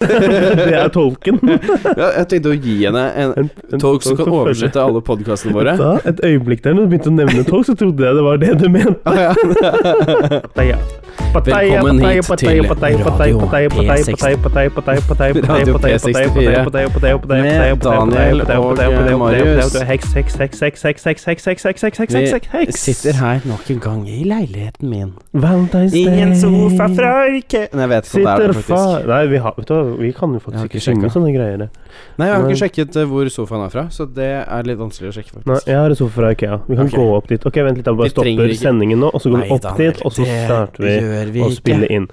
Det er tolken. Ja, jeg tenkte å gi henne en En, en tolk som kan følger. oversette alle podkastene våre. Da, et øyeblikk der, når du begynte å nevne tolk, så trodde jeg det var det du mente. Ah, ja. Velkommen hit til Radio Radio eh, Vi sitter her nok en gang i leiligheten min. Valentine's Day. ikke Nei, jeg vet ikke om det er Sitter det, fa... faktisk. Nei, vi, har, vet du, hva, vi kan jo Jeg faktisk har ikke ikke synge sjekket. sånne greier. Nei, jeg har Nei. ikke sjekket eh, hvor sofaen er fra, så det er litt vanskelig å sjekke, Nei, faktisk. jeg har en sofa fra Ikea. Vi kan Ok. gå opp dit. Ok, vent litt, da Vi bare trenger stopper ikke- sendingen nå, og så går vi Nei, opp Daniel, dit, og så det starter vi gjør å ikke. spille inn.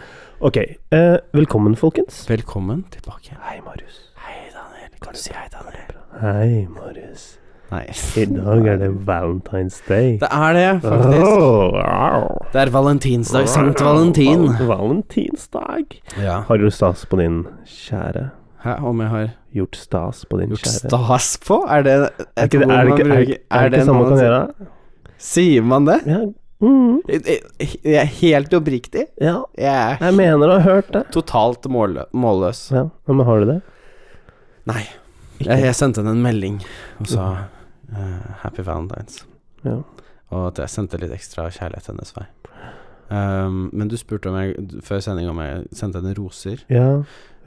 Ok, eh, velkommen folkens. Velkommen tilbake. Hei, Marius. Hei, Daniel. Kan du si hei, Daniel? Hei, Marius. Nei. I dag er det Valentine's Day. Det er det, faktisk. Åh, wow. Det er valentinsdag. Sankt Valentin. Val- Valentinsdag. Ja. Har du stas på din kjære? Hæ, om jeg har Gjort stas på din gjort kjære? stas på? Er det Er ikke det, er det, ikke, er, det- er det samme man kan gjøre? Sier man det? Ja. Mm, Jeg jeg er helt oppriktig. ja. Jeg er Jeg mener å ha hørt det. totalt mållø målløs. Ja, men har du det? Nei. Ikke? Jeg, jeg sendte henne en melding og sa eh, 'Happy Valentine's'. Ja. Og at jeg sendte litt ekstra kjærlighet hennes vei. Um, men du spurte om jeg, d- før sending om jeg sendte henne roser. ja.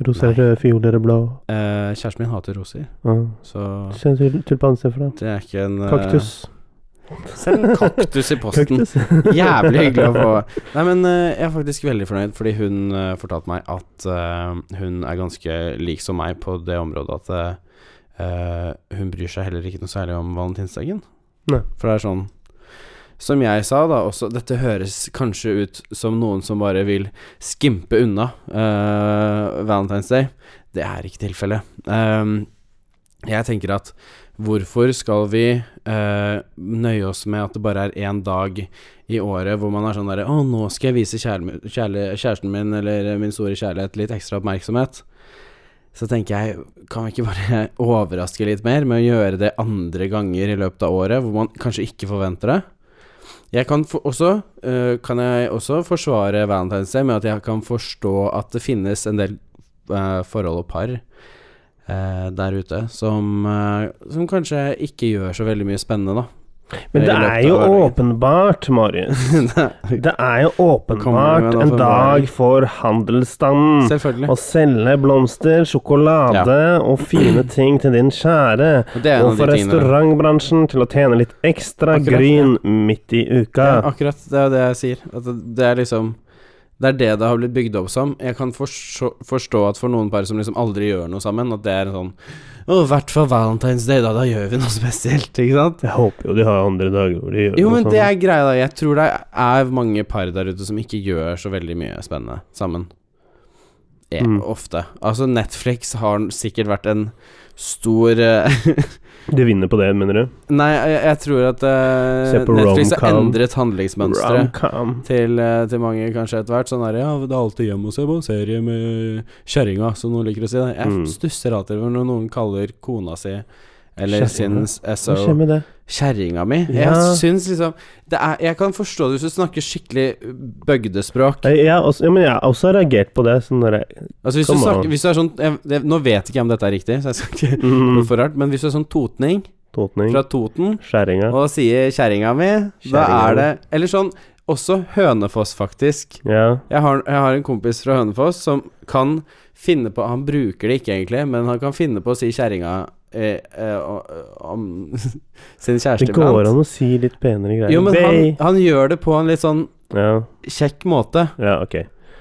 Rosa, Nei. rød, fiol, rød, blå. Eh, kjæresten min hater roser, Ja. så Kjenn til tulpan istedenfor, da. det er ikke en eh, Kaktus. Send en kaktus i posten. Kaktus. Jævlig hyggelig å få. Nei, men eh, jeg er faktisk veldig fornøyd, fordi hun eh, fortalte meg at eh, hun er ganske lik som meg på det området at eh, hun bryr seg heller ikke noe særlig om valentinsdagen. Nei. For det er sånn Som jeg sa da også, dette høres kanskje ut som noen som bare vil skimpe unna eh, Valentine's Day. Det er ikke tilfellet. Ehm, jeg tenker at hvorfor skal vi eh, nøye oss med at det bare er én dag i året hvor man er sånn derre Å, nå skal jeg vise kjærle, kjærle, kjæresten min eller min store kjærlighet litt ekstra oppmerksomhet. Så tenker jeg, kan vi ikke bare overraske litt mer med å gjøre det andre ganger i løpet av året, hvor man kanskje ikke forventer det? Jeg kan for, også, eh, kan jeg også forsvare Valentine's Day med at jeg kan forstå at det finnes en del eh, forhold og par eh, der ute som, eh, som kanskje ikke gjør så veldig mye spennende, Men det I løpet er av jo hverdagen. åpenbart, Marius. da. Det er jo Kommer med åpenbart en en åpenbaring. dag for handelsstanden. Selvfølgelig. Å selge blomster, sjokolade og fine ting til din kjære. Og det er en Og av de for tingene. restaurantbransjen til å tjene litt ekstra Akkurat, gryn midt i uka. Ja, akkurat. Det er jo det jeg sier. At det- det er liksom Det er det det har blitt bygd opp som. Jeg kan forstå, forstå at for noen par som liksom aldri gjør noe sammen, at det er sånn Å, i hvert fall Valentine's Day, da. Da gjør vi noe spesielt, ikke sant? Jeg håper jo de har andre dager hvor de gjør Jo, noe men det sånt. er greia, da. Jeg tror det er mange par der ute som ikke gjør så veldig mye spennende sammen. Ja, Mm. Ofte. Altså, Netflix har sikkert vært en stor eh, De vinner på det, mener du? Nei, jeg, jeg tror at eh, Se på Netflix har rom-com. endret handlingsmønsteret. Romcom. til, eh, til mange kanskje etter hvert. Sånn der, ja, det er alltid hjem og se på en serie med kjerringa, som noen liker å si. Det. Jeg Mm. stusser alltid over når noen kaller kona si eller sin Kjerringa? Hva skjer SO med det? Kjerringa mi. Ja. Jeg syns liksom det er, Jeg kan forstå det hvis du snakker skikkelig bøgdespråk. Jeg, jeg, har også, ja, men jeg har også reagert på det. Sånn der, Altså hvis du, Come on. snakker, hvis du er sånn jeg, det, Nå vet ikke jeg om dette er riktig, så jeg skal ikke noe mm, for rart, men hvis du er sånn totning totning. fra Toten Skjæringa. og sier 'kjerringa mi', da Kjerringa mi. er det Eller sånn Også Hønefoss, faktisk. Ja. Jeg har, jeg har en kompis fra Hønefoss som kan finne på Han bruker det ikke egentlig, men han kan finne på å si kjerringa eh, eh, o- om sin Det kjæreste går an å si litt penere greier. Jo, men han, Bay. han gjør det på en litt sånn ja. kjekk måte. ja, ok.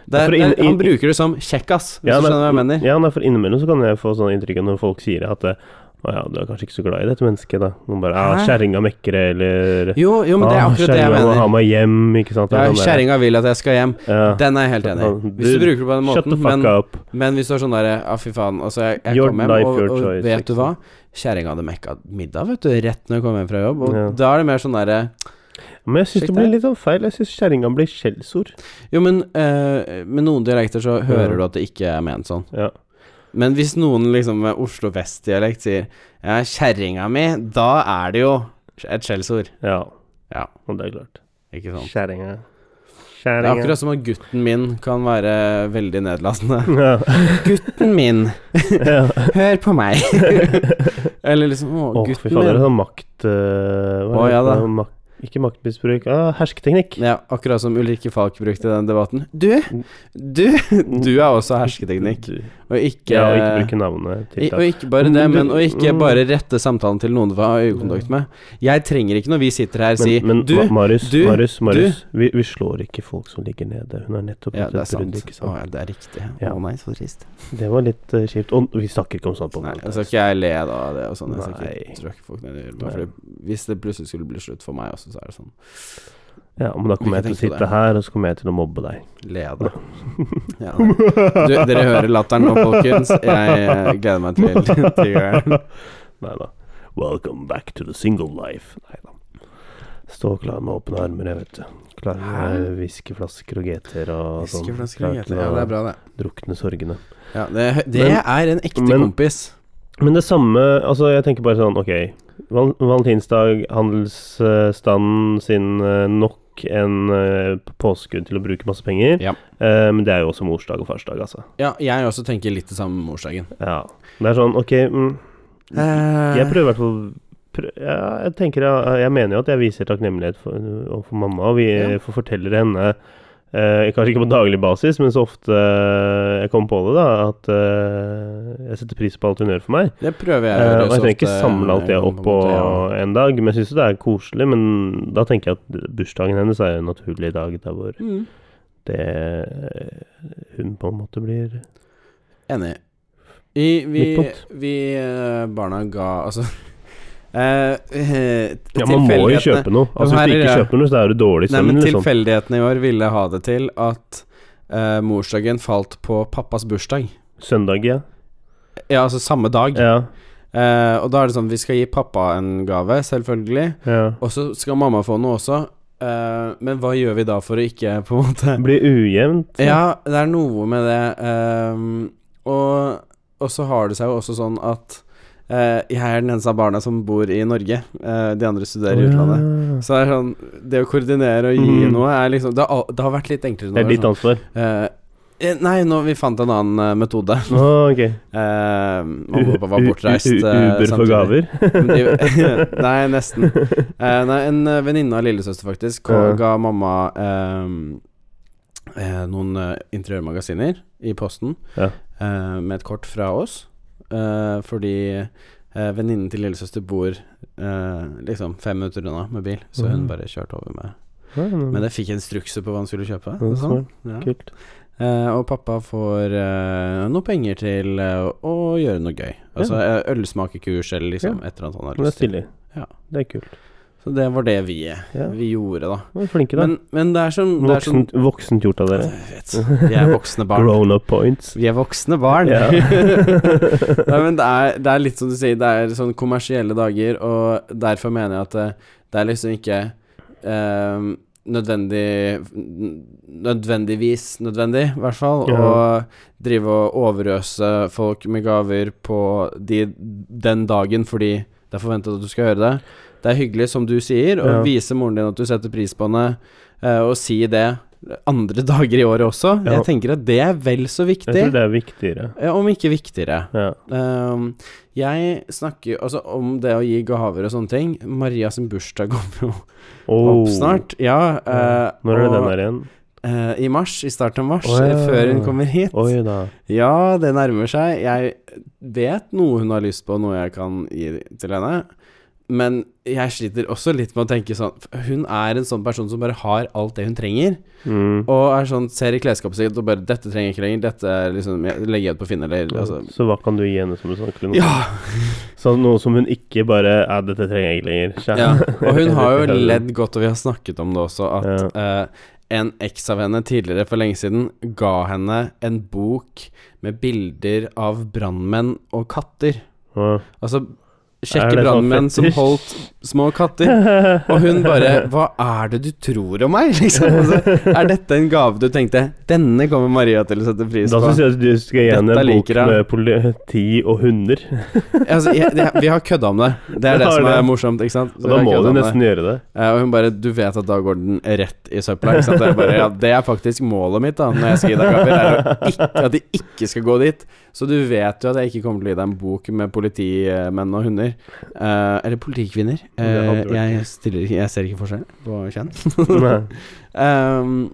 Det er- For inn- det er- han inn- bruker det som 'kjekkas', hvis Ja, du men- skjønner hva jeg mener. Ja, nei, for innimellom så kan jeg få sånn inntrykk av når folk sier at eh, Å ja, du er kanskje ikke så glad i dette mennesket, da. Noen bare ah, Hæ? 'Kjerringa mekker', eller Jo, jo, men det er «Ah, akkurat det jeg kjerringa må ha mener. meg hjem', ikke sant? Ja, Det er sånn der, 'Kjerringa vil at jeg skal hjem'. ja. Den er jeg helt enig i. Hvis Du- du bruker det på den Shut the måten, fuck men up. Men hvis du er sånn derre Ja, fy faen. Altså, jeg, jeg Your kom hjem, life, og, your og choice, vet du liksom. hva? Kjerringa hadde mekka middag, vet du, rett når jeg kom hjem fra jobb. Og Ja. da er det mer sånn derre Men jeg syns det Sjekk blir det. litt sånn feil. Jeg syns kjerringa blir skjellsord. Jo, men eh, med noen dialekter så hører Ja. du at det ikke er ment sånn. Ja. Men hvis noen liksom med Oslo Vest-dialekt sier Ja, kjerringa mi, da er det jo et skjellsord. Ja. Ja. Og det er klart. Ikke sant. Kjerringa. Det er kjerringa. akkurat som at gutten min kan være veldig nedlastende. Ja, Gutten min, ja. hør på meg! Eller liksom Å, Å, fy gutten faen, det er min. sånn makt... eh, hva er Å, det? ja da. Mak ikke maktmisbruk, ah, hersketeknikk. Ja, akkurat som Ulrikke Falk brukte i den debatten. Du, du, du er også hersketeknikk. Eh, Du- Og ikke, Ja, og ikke bruke navnet I- til Og ikke bare det, Men du- men og ikke mm. bare rette samtalen til noen du har øyekontakt med. Jeg trenger ikke, når vi sitter her, si Men, men Du, Ma- Marius, du, Marius, Marius vi, vi slår ikke folk som ligger nede. Hun har nettopp Ja, hatt det er et brudd, sant. ikke Å, sant. ja, det er riktig. Ja. Å nei, så trist. Det var litt eh, kjipt. Og vi snakker ikke om sånt på Nei, jeg Valentine's. skal ikke jeg le da av det og sånn. Jeg skal Nei. ikke tråkke folk ned i hjulpet. Nei. fordi Hvis det plutselig skulle bli slutt for meg også, så er det sånn Ja, men da Vi kommer jeg kan til å tenke på sitte det. her, og så kommer jeg til å mobbe deg. Le av det. Ja, nei. du, dere hører latteren nå, folkens. Jeg eh, gleder meg til tigeren. Nei da. Welcome back to the single life. Nei da. Stå klar med åpne armer, jeg, vet du. Klar med whiskeflasker og GT-er og sånn. Klar Ja, til det er å bra, det. Drukne sorgene. Ja, det, det Men- er en ekte men- kompis. Men det samme Altså, jeg tenker bare sånn Ok, val valentinsdag, handelsstanden sin eh, nok en eh, p- påskudd til å bruke masse penger. Ja. Eh, men det er jo også morsdag og farsdag, altså. Ja, jeg også tenker litt det samme med morsdagen. Ja. Det er sånn, ok mm, Jeg Eh. prøver i hvert fall prø- ja, jeg, tenker, jeg, jeg mener jo at jeg viser takknemlighet for- overfor mamma, og vi Ja. får forteller henne eh, Kanskje ikke på daglig basis, men så ofte eh, jeg kommer på det, da, at eh, jeg setter pris på alt hun gjør for meg. Det prøver jeg å Eh, gjøre og jeg så trenger ikke ofte, samle alt det eh, opp på på en måte, ja. en dag, men jeg syns det er koselig. Men da tenker jeg at bursdagen hennes er jo en naturlig dag der hvor Mm. det eh, hun på en måte blir Enig. I, vi, Midtpunkt. vi eh, barna ga Altså eh, eh, Ja, man må jo tilfeldighetene- kjøpe noe. Altså her Hvis du er ikke det- kjøper noe, så er du dårlig Nei, sammen, men liksom. tilfeldighetene i år ville ha det til at eh, morsdagen falt på pappas bursdag. Søndag, ja. Ja, altså samme dag. Ja. Eh, og da er det sånn, vi skal gi pappa en gave, selvfølgelig. ja. Og så skal mamma få noe også. Eh, men hva gjør vi da for å ikke på en måte Det blir ujevnt. Ja, det er noe med det. ehm, og, og så har det seg jo også sånn at eh, jeg er den eneste av barna som bor i Norge. eh, de andre studerer i utlandet. Så det er sånn Det å koordinere og gi Mm. noe er liksom Det har, al- det har vært litt enklere nå. Det er ditt sånn, ansvar. eh, eh, nei, nå, vi fant en annen eh, metode. Å, ok. Eh, mamma og pappa var U- u- bortreist. u- eh, Uber for samtidig. gaver? Men de, nei, nesten. Eh, nei, en eh, venninne av lillesøster faktisk ko- Ja. ga mamma eh, eh, noen eh, interiørmagasiner i posten Ja. eh, med et kort fra oss. eh, fordi eh, venninnen til lillesøster bor eh, liksom fem minutter unna med bil, så Mhm. hun bare kjørte over med Men Men jeg fikk instrukser på hva hun skulle kjøpe. Ja, og sånn. smart. Ja. Kult. Eh, og pappa får eh, noe penger til eh, å gjøre noe gøy. Altså eh, ølsmakekurs eller liksom et eller annet han Men har det er lyst til. stilig. Ja. Det er kult. Så det var det vi, Ja. vi gjorde, da. Dere var flinke, da. Men, men det er sånn- som, det er som Altså, Voksent, voksent gjort av dere. Jeg vet, Vi er voksne barn. Grown up points. Vi er voksne barn. Ja. Nei, men det er, det er litt som du sier, det er sånn kommersielle dager, og derfor mener jeg at det, det er liksom ikke eh, nødvendig Nødvendigvis nødvendig, i hvert fall, Ja. å drive og overøse folk med gaver på de, den dagen fordi det er forventet at du skal gjøre det. Det er hyggelig, som du sier, å Ja. vise moren din at du setter pris på henne, eh, og si det andre dager i året også. Ja. Jeg tenker at det er vel så Jeg tror viktig, det er viktigere. eh, om ikke viktigere. Ja. Ehm, jeg snakker jo altså om det å gi gaver og sånne ting. Maria sin bursdag kommer jo Oh. opp snart. Ja, eh, Når er det og, den er igjen? eh, I mars. I starten av mars, Å, ja. før hun kommer hit. Oi da. Ja, det nærmer seg. Jeg vet noe hun har lyst på, noe jeg kan gi til henne. Men jeg sliter også litt med å tenke sånn Hun er en sånn person som bare har alt det hun trenger. Mm. Og er sånn, ser i klesskapet sitt og bare 'Dette trenger jeg ikke lenger.' Dette er liksom, jeg legger jeg ut på Finn, eller altså, Så hva kan du gi henne som du snakker om? Ja! Sånn noe som hun ikke bare Ja, dette trenger jeg ikke lenger. Kjære. Ja, og hun har jo ledd godt, og vi har snakket om det også, at eh, en eks av henne tidligere for lenge siden ga henne en bok med bilder av brannmenn og katter. Ja. Altså Er kjekke det sånn brannmenn som fetisj? holdt små katter. Og hun bare 'Hva er det du tror om meg?' liksom. Altså, er dette en gave du tenkte 'Denne kommer Maria til å sette pris Da på'? syns jeg at du skal gi henne Dette en bok liker jeg. med politi og hunder. Altså, jeg, det, vi har kødda om det. Det er Vi det har som er det. morsomt, ikke sant? Så Og da vi har må kødda du om det. nesten gjøre det. Eh, Og hun bare 'Du vet at da går den rett i søpla', ikke sant? Og jeg bare, ja, det er faktisk målet mitt, da, når jeg skal gi deg gaver. Er å ikke, at de ikke skal gå dit. Så du vet jo at jeg ikke kommer til å gi deg en bok med politimenn og hunder. Eh, eller politikvinner. Det Eh, hadde vært jeg, stiller, ikke- jeg ser ikke forskjell på kjønn. Nei. Ehm,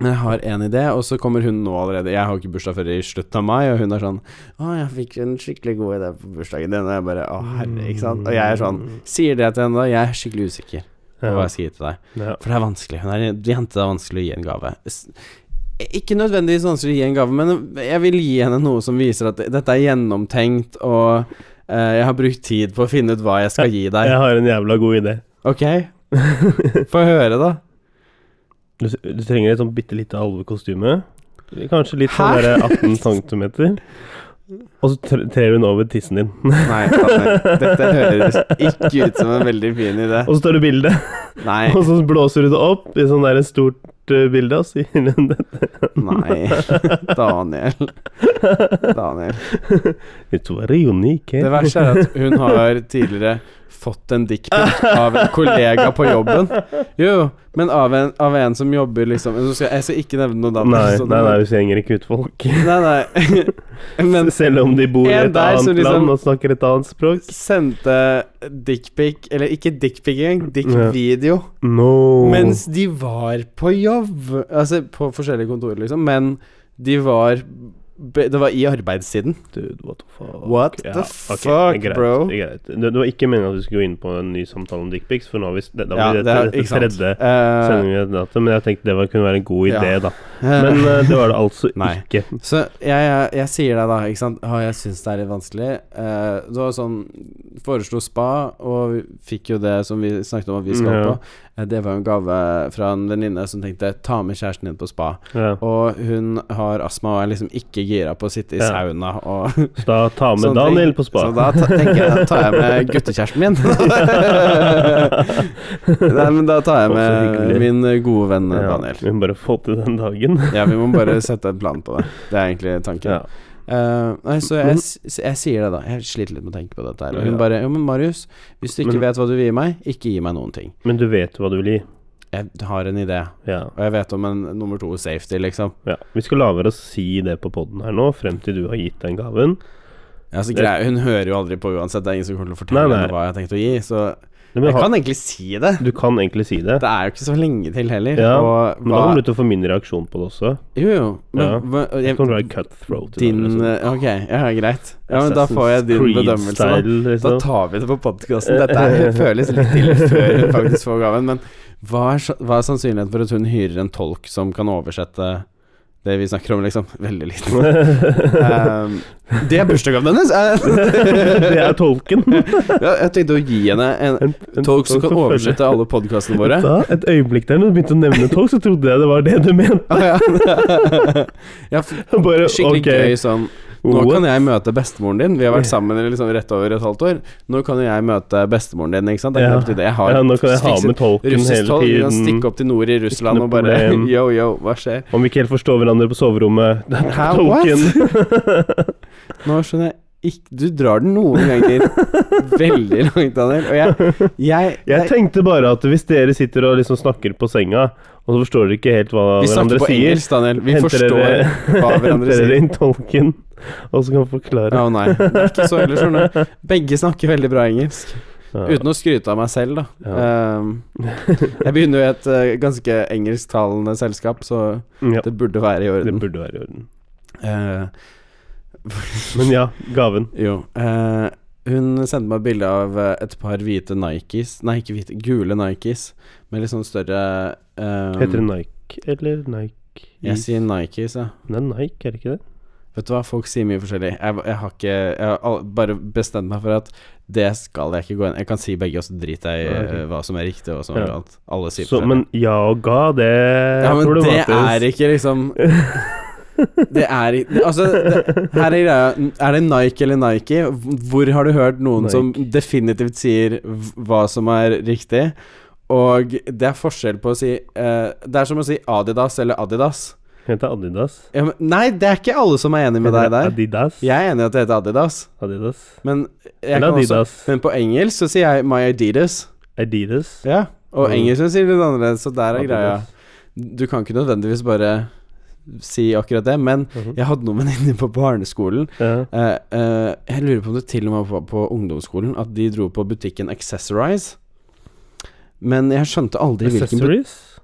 men jeg har en idé, og så kommer hun nå allerede. Jeg har ikke bursdag før i slutten av mai, og hun er sånn 'Å, jeg fikk en skikkelig god idé på bursdagen din.' Og jeg bare 'Å, herre', ikke sant? Og jeg er sånn Sier det til henne da, jeg er skikkelig usikker på hva Ja. jeg skal gi til deg. Ja. For det er vanskelig. Hun er en jente, det er vanskelig å gi en gave. S- Ikke nødvendigvis vanskelig å gi en gave, men jeg vil gi henne noe som viser at dette er gjennomtenkt, og eh, jeg har brukt tid på å finne ut hva jeg skal gi deg. Jeg har en jævla god idé. Ok? Få høre, da. Du, du trenger et sånn bitte lite alvekostyme. Kanskje litt sånn Hæ? der 18 cm. Og så tr- trer hun over tissen din. Nei, Daniel, dette høres ikke ut som en veldig fin idé. Og så tar du bilde, Nei. og så blåser du det opp i sånn der et stort eh, bilde, og sier hun det. Nei. Daniel. Daniel. Vet du hva, det er unik, eh? Det verste er at hun har tidligere fått en dickpic av en kollega på jobben. Jo, men av en, av en som jobber liksom Nå skal- Jeg skal ikke nevne noe navn. Nei, så- nei, nei, vi slenger ikke ut folk. nei, nei. Men Selv om de bor i En et der som annet liksom- land og snakker et annet språk. sendte dickpic Eller ikke dickpic engang, Ja. Oh. dickvideo. No. Mens de var på jobb. Altså på forskjellige kontorer, liksom. Men de var be- Det var i arbeidstiden. Dude, what the fuck? What the ok, fuck, greit, bro? det er Greit. Det, det var ikke meningen at vi skulle gå inn på en ny samtale om dickpics, for nå har vi s- det, da Ja, blir det, det er- det, ikke sant. tredje Eh, sendingen vi har hatt, men jeg tenkte det var, kunne være en god idé, Ja. da. Men eh, det var det altså Nei. ikke. Så jeg, jeg, jeg sier deg da, ikke sant Å, jeg syns det er litt vanskelig. Eh, det var sånn Foreslo spa, og vi fikk jo det som vi snakket om at vi skal Ja. på. Eh, det var jo en gave fra en venninne som tenkte ta med kjæresten din på spa. Ja. Og hun har astma og er liksom ikke gira på å sitte i Ja. sauna og Så da ta med sånne Daniel ting. på spa. Så da ta, tenker jeg da tar jeg med guttekjæresten min. Nei, men da tar jeg Å, så med hyggelig. min gode venn eh, ja, Daniel. vi må bare få til den dagen. Ja, vi må bare sette en plan på det. Det er egentlig tanken. Ja. Eh, nei, så jeg, Men- s- s- jeg sier det, da. Jeg sliter litt med å tenke på dette her. Og hun Ja. bare Jo, men Marius, hvis du ikke Men- vet hva du vil gi meg, ikke gi meg noen ting. Men du vet hva du vil gi. Jeg har en idé, Ja. og jeg vet om en nummer to safety, liksom. ja. Vi skal la være å si det på poden her nå, frem til du har gitt den gaven. Altså, Det- grei, hun hører jo aldri på uansett, det er ingen som kommer til å fortelle Nei, nei. henne hva jeg har tenkt å gi, så Men jeg ha- kan egentlig si det. Du kan egentlig si det. Det er jo ikke så lenge til heller. Ja, og Men da hva kommer du til å få min reaksjon på det også. Jo, jo. Men Ja. hva- og Det jeg, kommer til å være cutthroat. i dag, din liksom. eh, Ok, ja, greit. Ja, men da får jeg din Assassin's bedømmelse, da. Creed-style, Da liksom. tar vi det på podkasten. Dette her føles litt til før hun faktisk får gaven. Men hva er, sa- hva er sannsynligheten for at hun hyrer en tolk som kan oversette det vi snakker om, liksom? Veldig liten. Ehm, det er bursdagsgaven hennes! Eh, det er tolken. ja, jeg tenkte å gi henne en En, en tolk som kan følger- oversette alle podkastene våre. Da, et øyeblikk der, når du begynte å nevne tolk, så trodde jeg det var det du mente. Ah, ja. ja, f- Bare, skikkelig ok, gøy sånn Nå what? kan jeg møte bestemoren din. Vi har vært sammen i liksom rett over et halvt år. Nå kan jo jeg møte bestemoren din, ikke sant? Det er Ja. knapt det. Jeg har ja, nå kan jeg ha fikset med tolken hele Russisk tolv, vi kan stikke tiden. opp til nord i Russland noe og bare problem. Yo, yo, hva skjer? Om vi ikke helt forstår hverandre på soverommet det er Hæ, Tolken. Nå skjønner jeg ikke Du drar den noen ganger veldig langt, Daniel. Og jeg, jeg, Jeg tenkte bare at hvis dere sitter og liksom snakker på senga, og så forstår dere ikke helt hva Vi hverandre snakker på sier, engelsk, Daniel. Vi henter forstår dere, hva hverandre henter sier. dere inn tolken, og så kan vi forklare. Å nei, det er ikke så ille, skjønner du. Begge snakker veldig bra engelsk. Uten å skryte av meg selv, da. Ehm, jeg begynner jo i et eh, ganske engelsktalende selskap, så ja, det burde være i det orden. burde være i orden. Eh, Men ja, gaven. Jo. eh, hun sendte meg bilde av eh, et par hvite Nikes Nei, ikke hvite, gule Nikes med litt sånn større eh, Heter det Nike eller Nike? Jeg sier Nikes, ja. Det er Nike, er det ikke det? Vet du hva, folk sier mye forskjellig. Jeg, jeg har ikke Jeg har al- bare bestemt meg for at det skal jeg ikke gå inn Jeg kan si begge, og så driter jeg i Ja, ok. eh, hva som er riktig, og hva som Ja. er galt. Alle sier Så, men ja og ga, det ja, men det problematisk. er ikke liksom Det er i- Altså, det, her er greia Er det Nike eller Nike? Hvor har du hørt noen Nike. som definitivt sier v- hva som er riktig? Og det er forskjell på å si eh, Det er som å si Adidas eller Adidas. Heter Adidas. Ja, men, nei, det er ikke alle som er enig med deg der. Adidas. Jeg er enig i at det heter Adidas, Adidas. men jeg Eller kan også, Adidas. Men på engelsk så sier jeg My Adidas. Adidas. Ja, og Mm. engelsk sier det litt annerledes, så der er greia. Adidas. Du kan ikke nødvendigvis bare si akkurat det, men Mhm. jeg hadde noen venninner på barneskolen Ja. Eh, eh, jeg lurer på om det til og med var på ungdomsskolen at de dro på butikken Accessorize. Men jeg skjønte aldri hvilken butikk Accessories?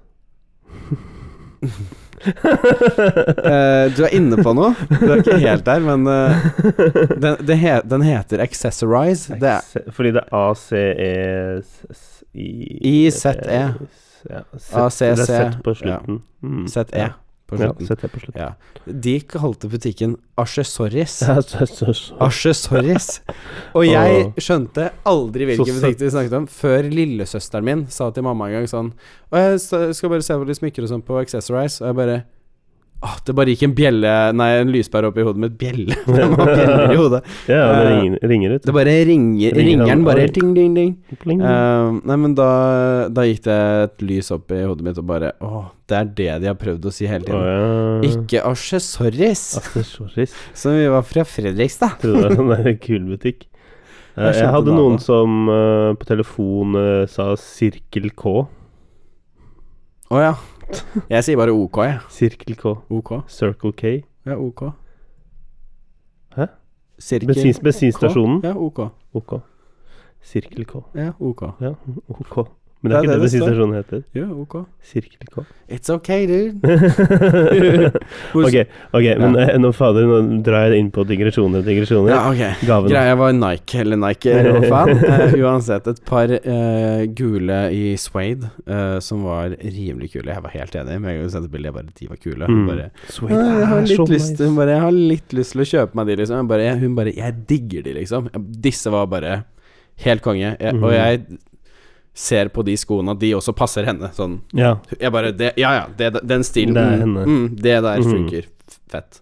Eh, Du er inne på noe. Du er ikke helt der, men eh, den, det he, den heter Accessorize. Det er Acce- Fordi det er E A-C-E-S-I IZE. Ja, ACC. Det er Z på Ja. slutten. Mm. ZE E på Ja, slutten. ZE på slutten. Ja. De kalte butikken Accessories. Ja, så- så- så- Accessories. Og jeg skjønte aldri hvilken butikk de snakket om, før lillesøsteren min sa til mamma en gang sånn Og jeg s- skal bare se på de smykker og sånn på Accessorize, og jeg bare Åh, det bare gikk en bjelle Nei, en lyspære opp i hodet mitt. Bjelle. Det var bjeller i hodet. Ja, det Eh, ringer, ringer ut. Det bare ringer, Ringer ringer den den. bare ding, ding, ding. Pling. Eh, nei, men da, da gikk det et lys opp i hodet mitt og bare Åh, det er det de har prøvd å si hele tiden. Å, ja. Ikke accessories, Accessories. som vi var fra Fredrikstad. Trodde det var en sånn der kul butikk. Eh, Jeg skjønte Jeg hadde det, da. noen som eh, på telefon eh, sa Sirkel K. Å ja. Jeg sier bare OK, jeg. Sirkel K. OK. Circle K. Ja, OK. Hæ? Sirkel Bensins, K? bensinstasjonen. Ja, OK. Ok. Sirkel K. Ja, OK. Ja, ok. Men det er Det er ikke det det det står. bensinstasjonen heter. Ja, OK. Sirkel K. It's okay, dude. Hvor- ok, ok, men Ja. eh, nå, fader, nå drar jeg det inn på digresjoner og digresjoner. Ja, ok. Gaven. Greia var Nike, eller Nike, eller hva faen. Eh, uansett, et par eh, gule i suede eh, som var rimelig kule. Jeg var helt enig med en gang du sendte bilde, jeg bare de var kule. Hun Mm. bare Sweet, «Nei, jeg har, det er litt så lyst, nice. hun bare, jeg har litt lyst til å kjøpe meg de, liksom. Jeg bare, jeg, hun bare Jeg digger de, liksom. Jeg- Disse var bare helt konge. Jeg, Og Mhm. jeg ser på de skoene at de også passer henne. Sånn Ja, Jeg bare det, Ja ja, det, den stilen. Det er mm, henne. Mm, det der Mhm. funker. F- Fett.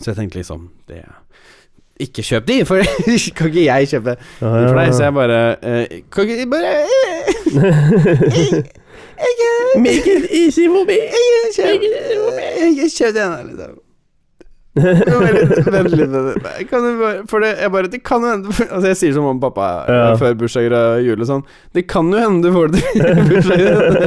Så jeg tenkte liksom Det Ikke kjøp de, for kan ikke ja, jeg kjøpe de ja. for deg? Så jeg bare eh, Kan ikke de bare eh, Make it easy for me. Jeg kjøper den her, liksom. Vent litt, vent litt. Nei, Kan du bare, for det, jeg bare, det kan jo hende for, Altså Jeg sier som mamma og pappa Ja. før bursdager og jul og sånn Det kan jo hende du får det til bursdagen.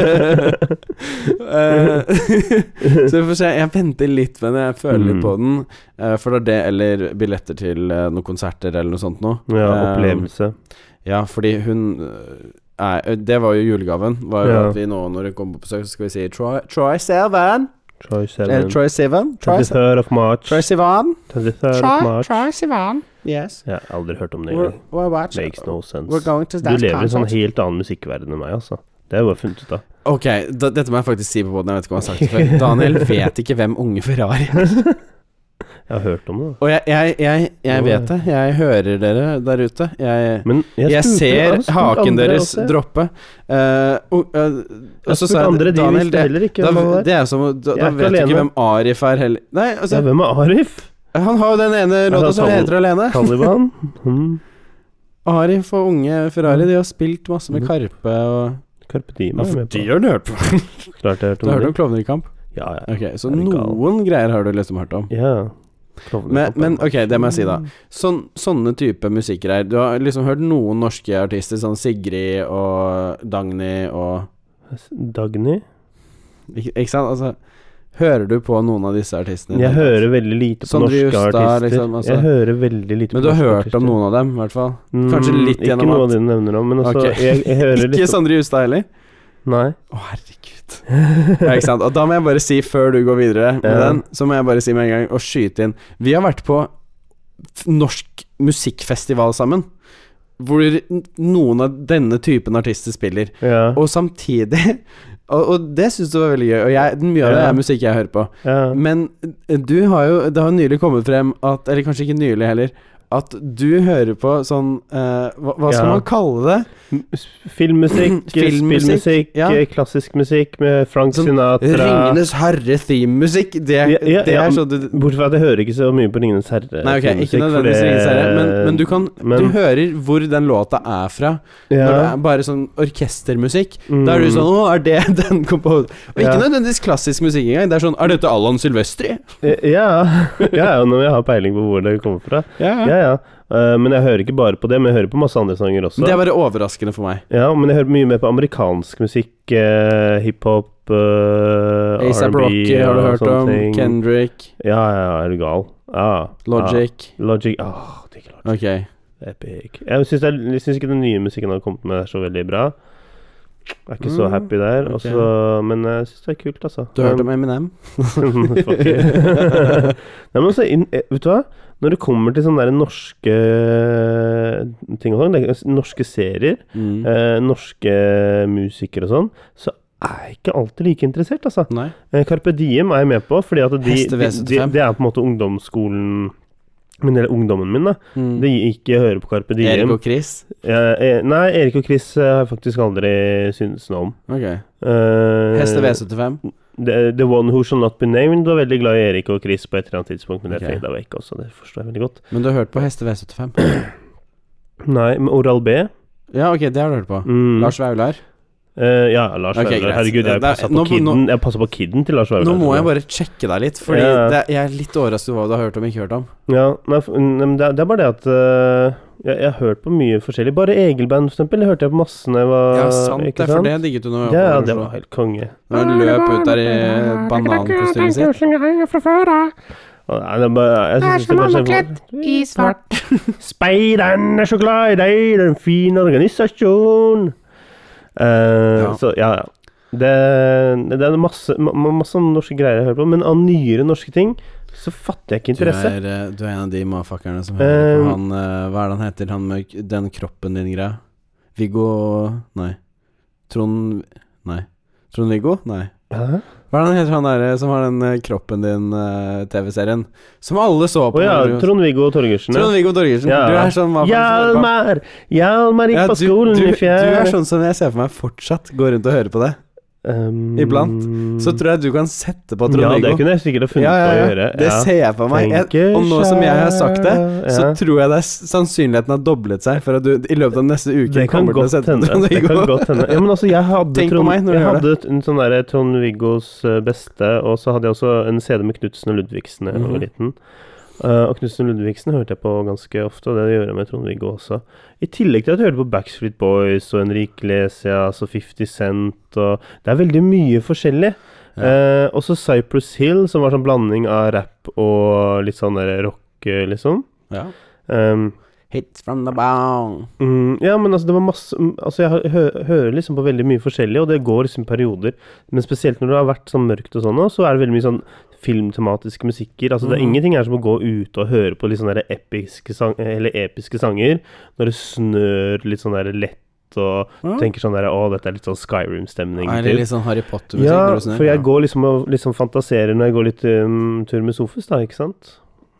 Eh, så vi får se. Jeg venter litt med det. Jeg føler litt Mm. på den. eh, for det er det, eller billetter til eh, noen konserter eller noe sånt noe. ja, Eh, opplevelse. ja, fordi hun eh, er, Det var jo julegaven. Var jo Ja. at vi nå når hun kommer på besøk, så skal vi si Troy, Troy Sivan. Troy Eller Seven. Troy Sivan. Troy 23rd of March. Sivan. 23rd of Try, March. try, Sivan. Yes. Jeg har aldri hørt om det We're, engang. we're watching. Makes no sense. We're going to Du that lever i en sånn concert. helt annen musikkverden enn meg, altså. Det har jeg bare funnet ut av. Ok, da, dette må jeg faktisk si på båten. Jeg vet ikke hva jeg har sagt det før. Daniel vet ikke hvem Unge Ferrari er. Jeg har hørt om det. da. Og jeg, jeg, jeg, jeg vet det. Jeg hører dere der ute. Jeg, Men jeg, jeg, spurte- ser har spurt haken andre deres også. droppe. Eh, og, eh, Jeg og har så spurt sa andre, jeg de Daniel, visste det, heller ikke da, hvem han var. det er som, å- da, Jeg er da ikke vet du ikke alene. hvem Arif er heller. Nei, ja, altså hvem er Arif? Han har jo den ene Ja, låta som Tal- heter Alene. Taliban? Mm. Arif og unge Ferrari, de har spilt masse med Mhm. Karpe og Carpe Diem er jeg med på. har du hørt på. Klart jeg har hørt Du om har hørt det. om Klovner i kamp? Ja, ja. Ok, så Er du gal? noen greier har du liksom hørt om. ja. Klovner Men, på men Pampa. ok, det må jeg si, da. Sånn, sånne type musikkgreier. Du har liksom hørt noen norske artister, sånn Sigrid og Dagny og Dagny? Ikke, ikke sant? Altså, hører du på noen av disse artistene? i Jeg det hele tatt? hører veldig lite på Sondre norske Justad, artister. liksom, altså. Jeg hører veldig lite på Men du har norske hørt artister. om noen av dem, i hvert fall? Kanskje Mm, litt gjennom Ikke noe at- av det du nevner om, men altså Ok. jeg, jeg hører Ikke sånn. litt Sondre Justad heller? Nei. Å, herregud. Ja, ikke sant? Og da må jeg bare si, før du går videre med Ja. den, så må jeg bare si med en gang, og skyte inn Vi har vært på f- norsk musikkfestival sammen, hvor n- noen av denne typen artister spiller. Ja. Og samtidig Og, og det syns du var veldig gøy, og jeg, mye av det Ja. er musikk jeg hører på. ja. eh, Men du har jo Det har nylig kommet frem at Eller kanskje ikke nylig heller at du hører på sånn eh, hva, hva skal Ja. man kalle det? Filmmusikk, Filmmusikk, spillmusikk, ja. eh, klassisk musikk med Frank Sånn Sinatra Ringenes herre-thememusikk. Det, eh, Ja, ja, det ja, er sånn du Bortsett fra at jeg hører ikke så mye på Ringenes herre. Nei, ok, ikke filmmusikk, for nødvendigvis det- Ringenes herre, men, men du kan Du men- hører hvor den låta er fra. ja, Når det er bare sånn orkestermusikk. mm, Da er du sånn Å, er det den komponen? Og ikke Ja. nødvendigvis klassisk musikk engang. Det er sånn Er dette Allan Silvestri? Ja, ja, ja, når jeg har peiling på hvor det kommer fra. Ja, ja. Eh, men jeg hører ikke bare på det, men jeg hører på masse andre sanger også. Men Det er bare overraskende for meg. Ja, men jeg hører mye mer på amerikansk musikk, eh, hiphop, eh, ASAP Rocky har du og hørt sånne om. ting. Kendrick. Ja, ja, er du gal? Ja, Logic. Ja. Logic ah, det er ikke Logic. Ok. Epic. Jeg syns, det er- jeg syns ikke den nye musikken har kommet med er så veldig bra. Jeg er ikke så Mm, happy der. ok. og så- men jeg syns det er kult, altså. Du har hørt om Eminem? Fuck you. Nei, men også inn, eh, vet du hva? Når det kommer til sånne der norske ting og sånn, det- norske serier, Mm. eh, norske musikere og sånn, så er jeg ikke alltid like interessert, altså. Nei. Eh, Carpe Diem er jeg med på, fordi at de, de, Hestevesen de, 75. det er på en måte ungdomsskolen min, eller ungdommen min, da. Mm. De ikke hører på Carpe Diem. Erik og Chris? Eh, eh, nei, Erik og Chris eh, har jeg faktisk aldri syntes noe om. Ok. Eh, Heste V75? The, the One Who Shall Not Be Named var veldig glad i Erik og Chris på et eller annet tidspunkt, men det Ok. okay. fada vekk også, det forstår jeg veldig godt. Men du har hørt på Heste V75? Nei, men Oral B Ja, ok, det har du hørt på. mm, Lars Vaular? Eh, Ja, Lars Ok, Vaular. greit. Herregud, jeg Det er- passa på, nå- nå- kidden- jeg passet på kidden til Lars Vaular. Nå må tror jeg bare sjekke deg litt, Fordi Ja, ja. det, jeg er litt overrasket over hva du har hørt om og ikke hørt om. Ja, nei, f- mm, men det, er- det er bare det at eh, jeg, jeg har hørt på mye forskjellig. Bare Egil-band, for eksempel, hørte jeg på masse da jeg var Ja, sant ikke det, for det digget du nå. Ja, ja, det var helt konge. Når hun løp ut der i banankostymet sitt. fra før av. Og Nei, det er bare, jeg Det er synes som bare om så- han er I svart. Speideren er så glad i deg, det er en fin organisasjon. Eh, Ja. Så ja, ja. Det, det er masse, ma- ma- masse norske greier jeg hører på, men av nyere norske ting så fatter jeg ikke Du er, interesse. eh, du er en av de mafakkerne som hører på Eh, han eh, Hva er det han heter, han med k- den kroppen din-greia? Viggo Nei. Trond Nei. Trond-Viggo? Nei. Hæ? Hva er det han heter, han derre som har den eh, kroppen din-TV-serien? Som alle så Å på. ja, når vi- Trond-Viggo Torgersen. ja. Trond-Viggo Torgersen. Ja. Du er sånn hva faen som hører på- Hjalmar! Hjalmar gikk Ja, på du, skolen du, i du er fjær. sånn som jeg ser for meg fortsatt går rundt og hører på det. Um, iblant. Så tror jeg du kan sette på Ja, det Trond-Viggo. kunne jeg sikkert ha funnet på å gjøre. Det ser jeg for meg. Jeg, og nå som jeg har sagt det, så tror jeg det er, sannsynligheten har doblet seg for at du i løpet av neste uke Det kan kommer til å godt sette hende. Det Trond-Viggo. kan godt hende. Ja, men altså, jeg hadde, Tenk på Trond, meg når du jeg gjør hadde et- en sånn derre Trond-Viggos eh, beste, og så hadde jeg også en CD med Knutsen og Ludvigsen da jeg var Mhm. liten. Eh, og Knutsen og Ludvigsen hørte jeg på ganske ofte, og det gjør jeg med Trond-Viggo også. I tillegg til at jeg hørte på Backstreet Boys og Henrik Lesias og 50 Cent og Det er veldig mye forskjellig. Ja. Eh, også Cypress Hill, som var sånn blanding av rap og litt sånn der rock, eh, liksom. Ja. Um, Hits from the bong. Mm, ja, men altså, det var masse mm, Altså, jeg hø- hø hører liksom på veldig mye forskjellig, og det går liksom i perioder. Men spesielt når det har vært sånn mørkt og sånn, nå, så er det veldig mye sånn filmtematiske musikker. Altså, det er Mhm. ingenting her som å gå ute og høre på litt sånne der episke, sang eller episke sanger når det snør litt sånn der lett, og Ja. tenker sånn der Å, dette er litt sånn Skyroom-stemning. Er det litt sånn Harry Potter-musikk? ja, når du snur? for jeg går liksom og liksom fantaserer når jeg går litt um, tur med Sofus, da, ikke sant?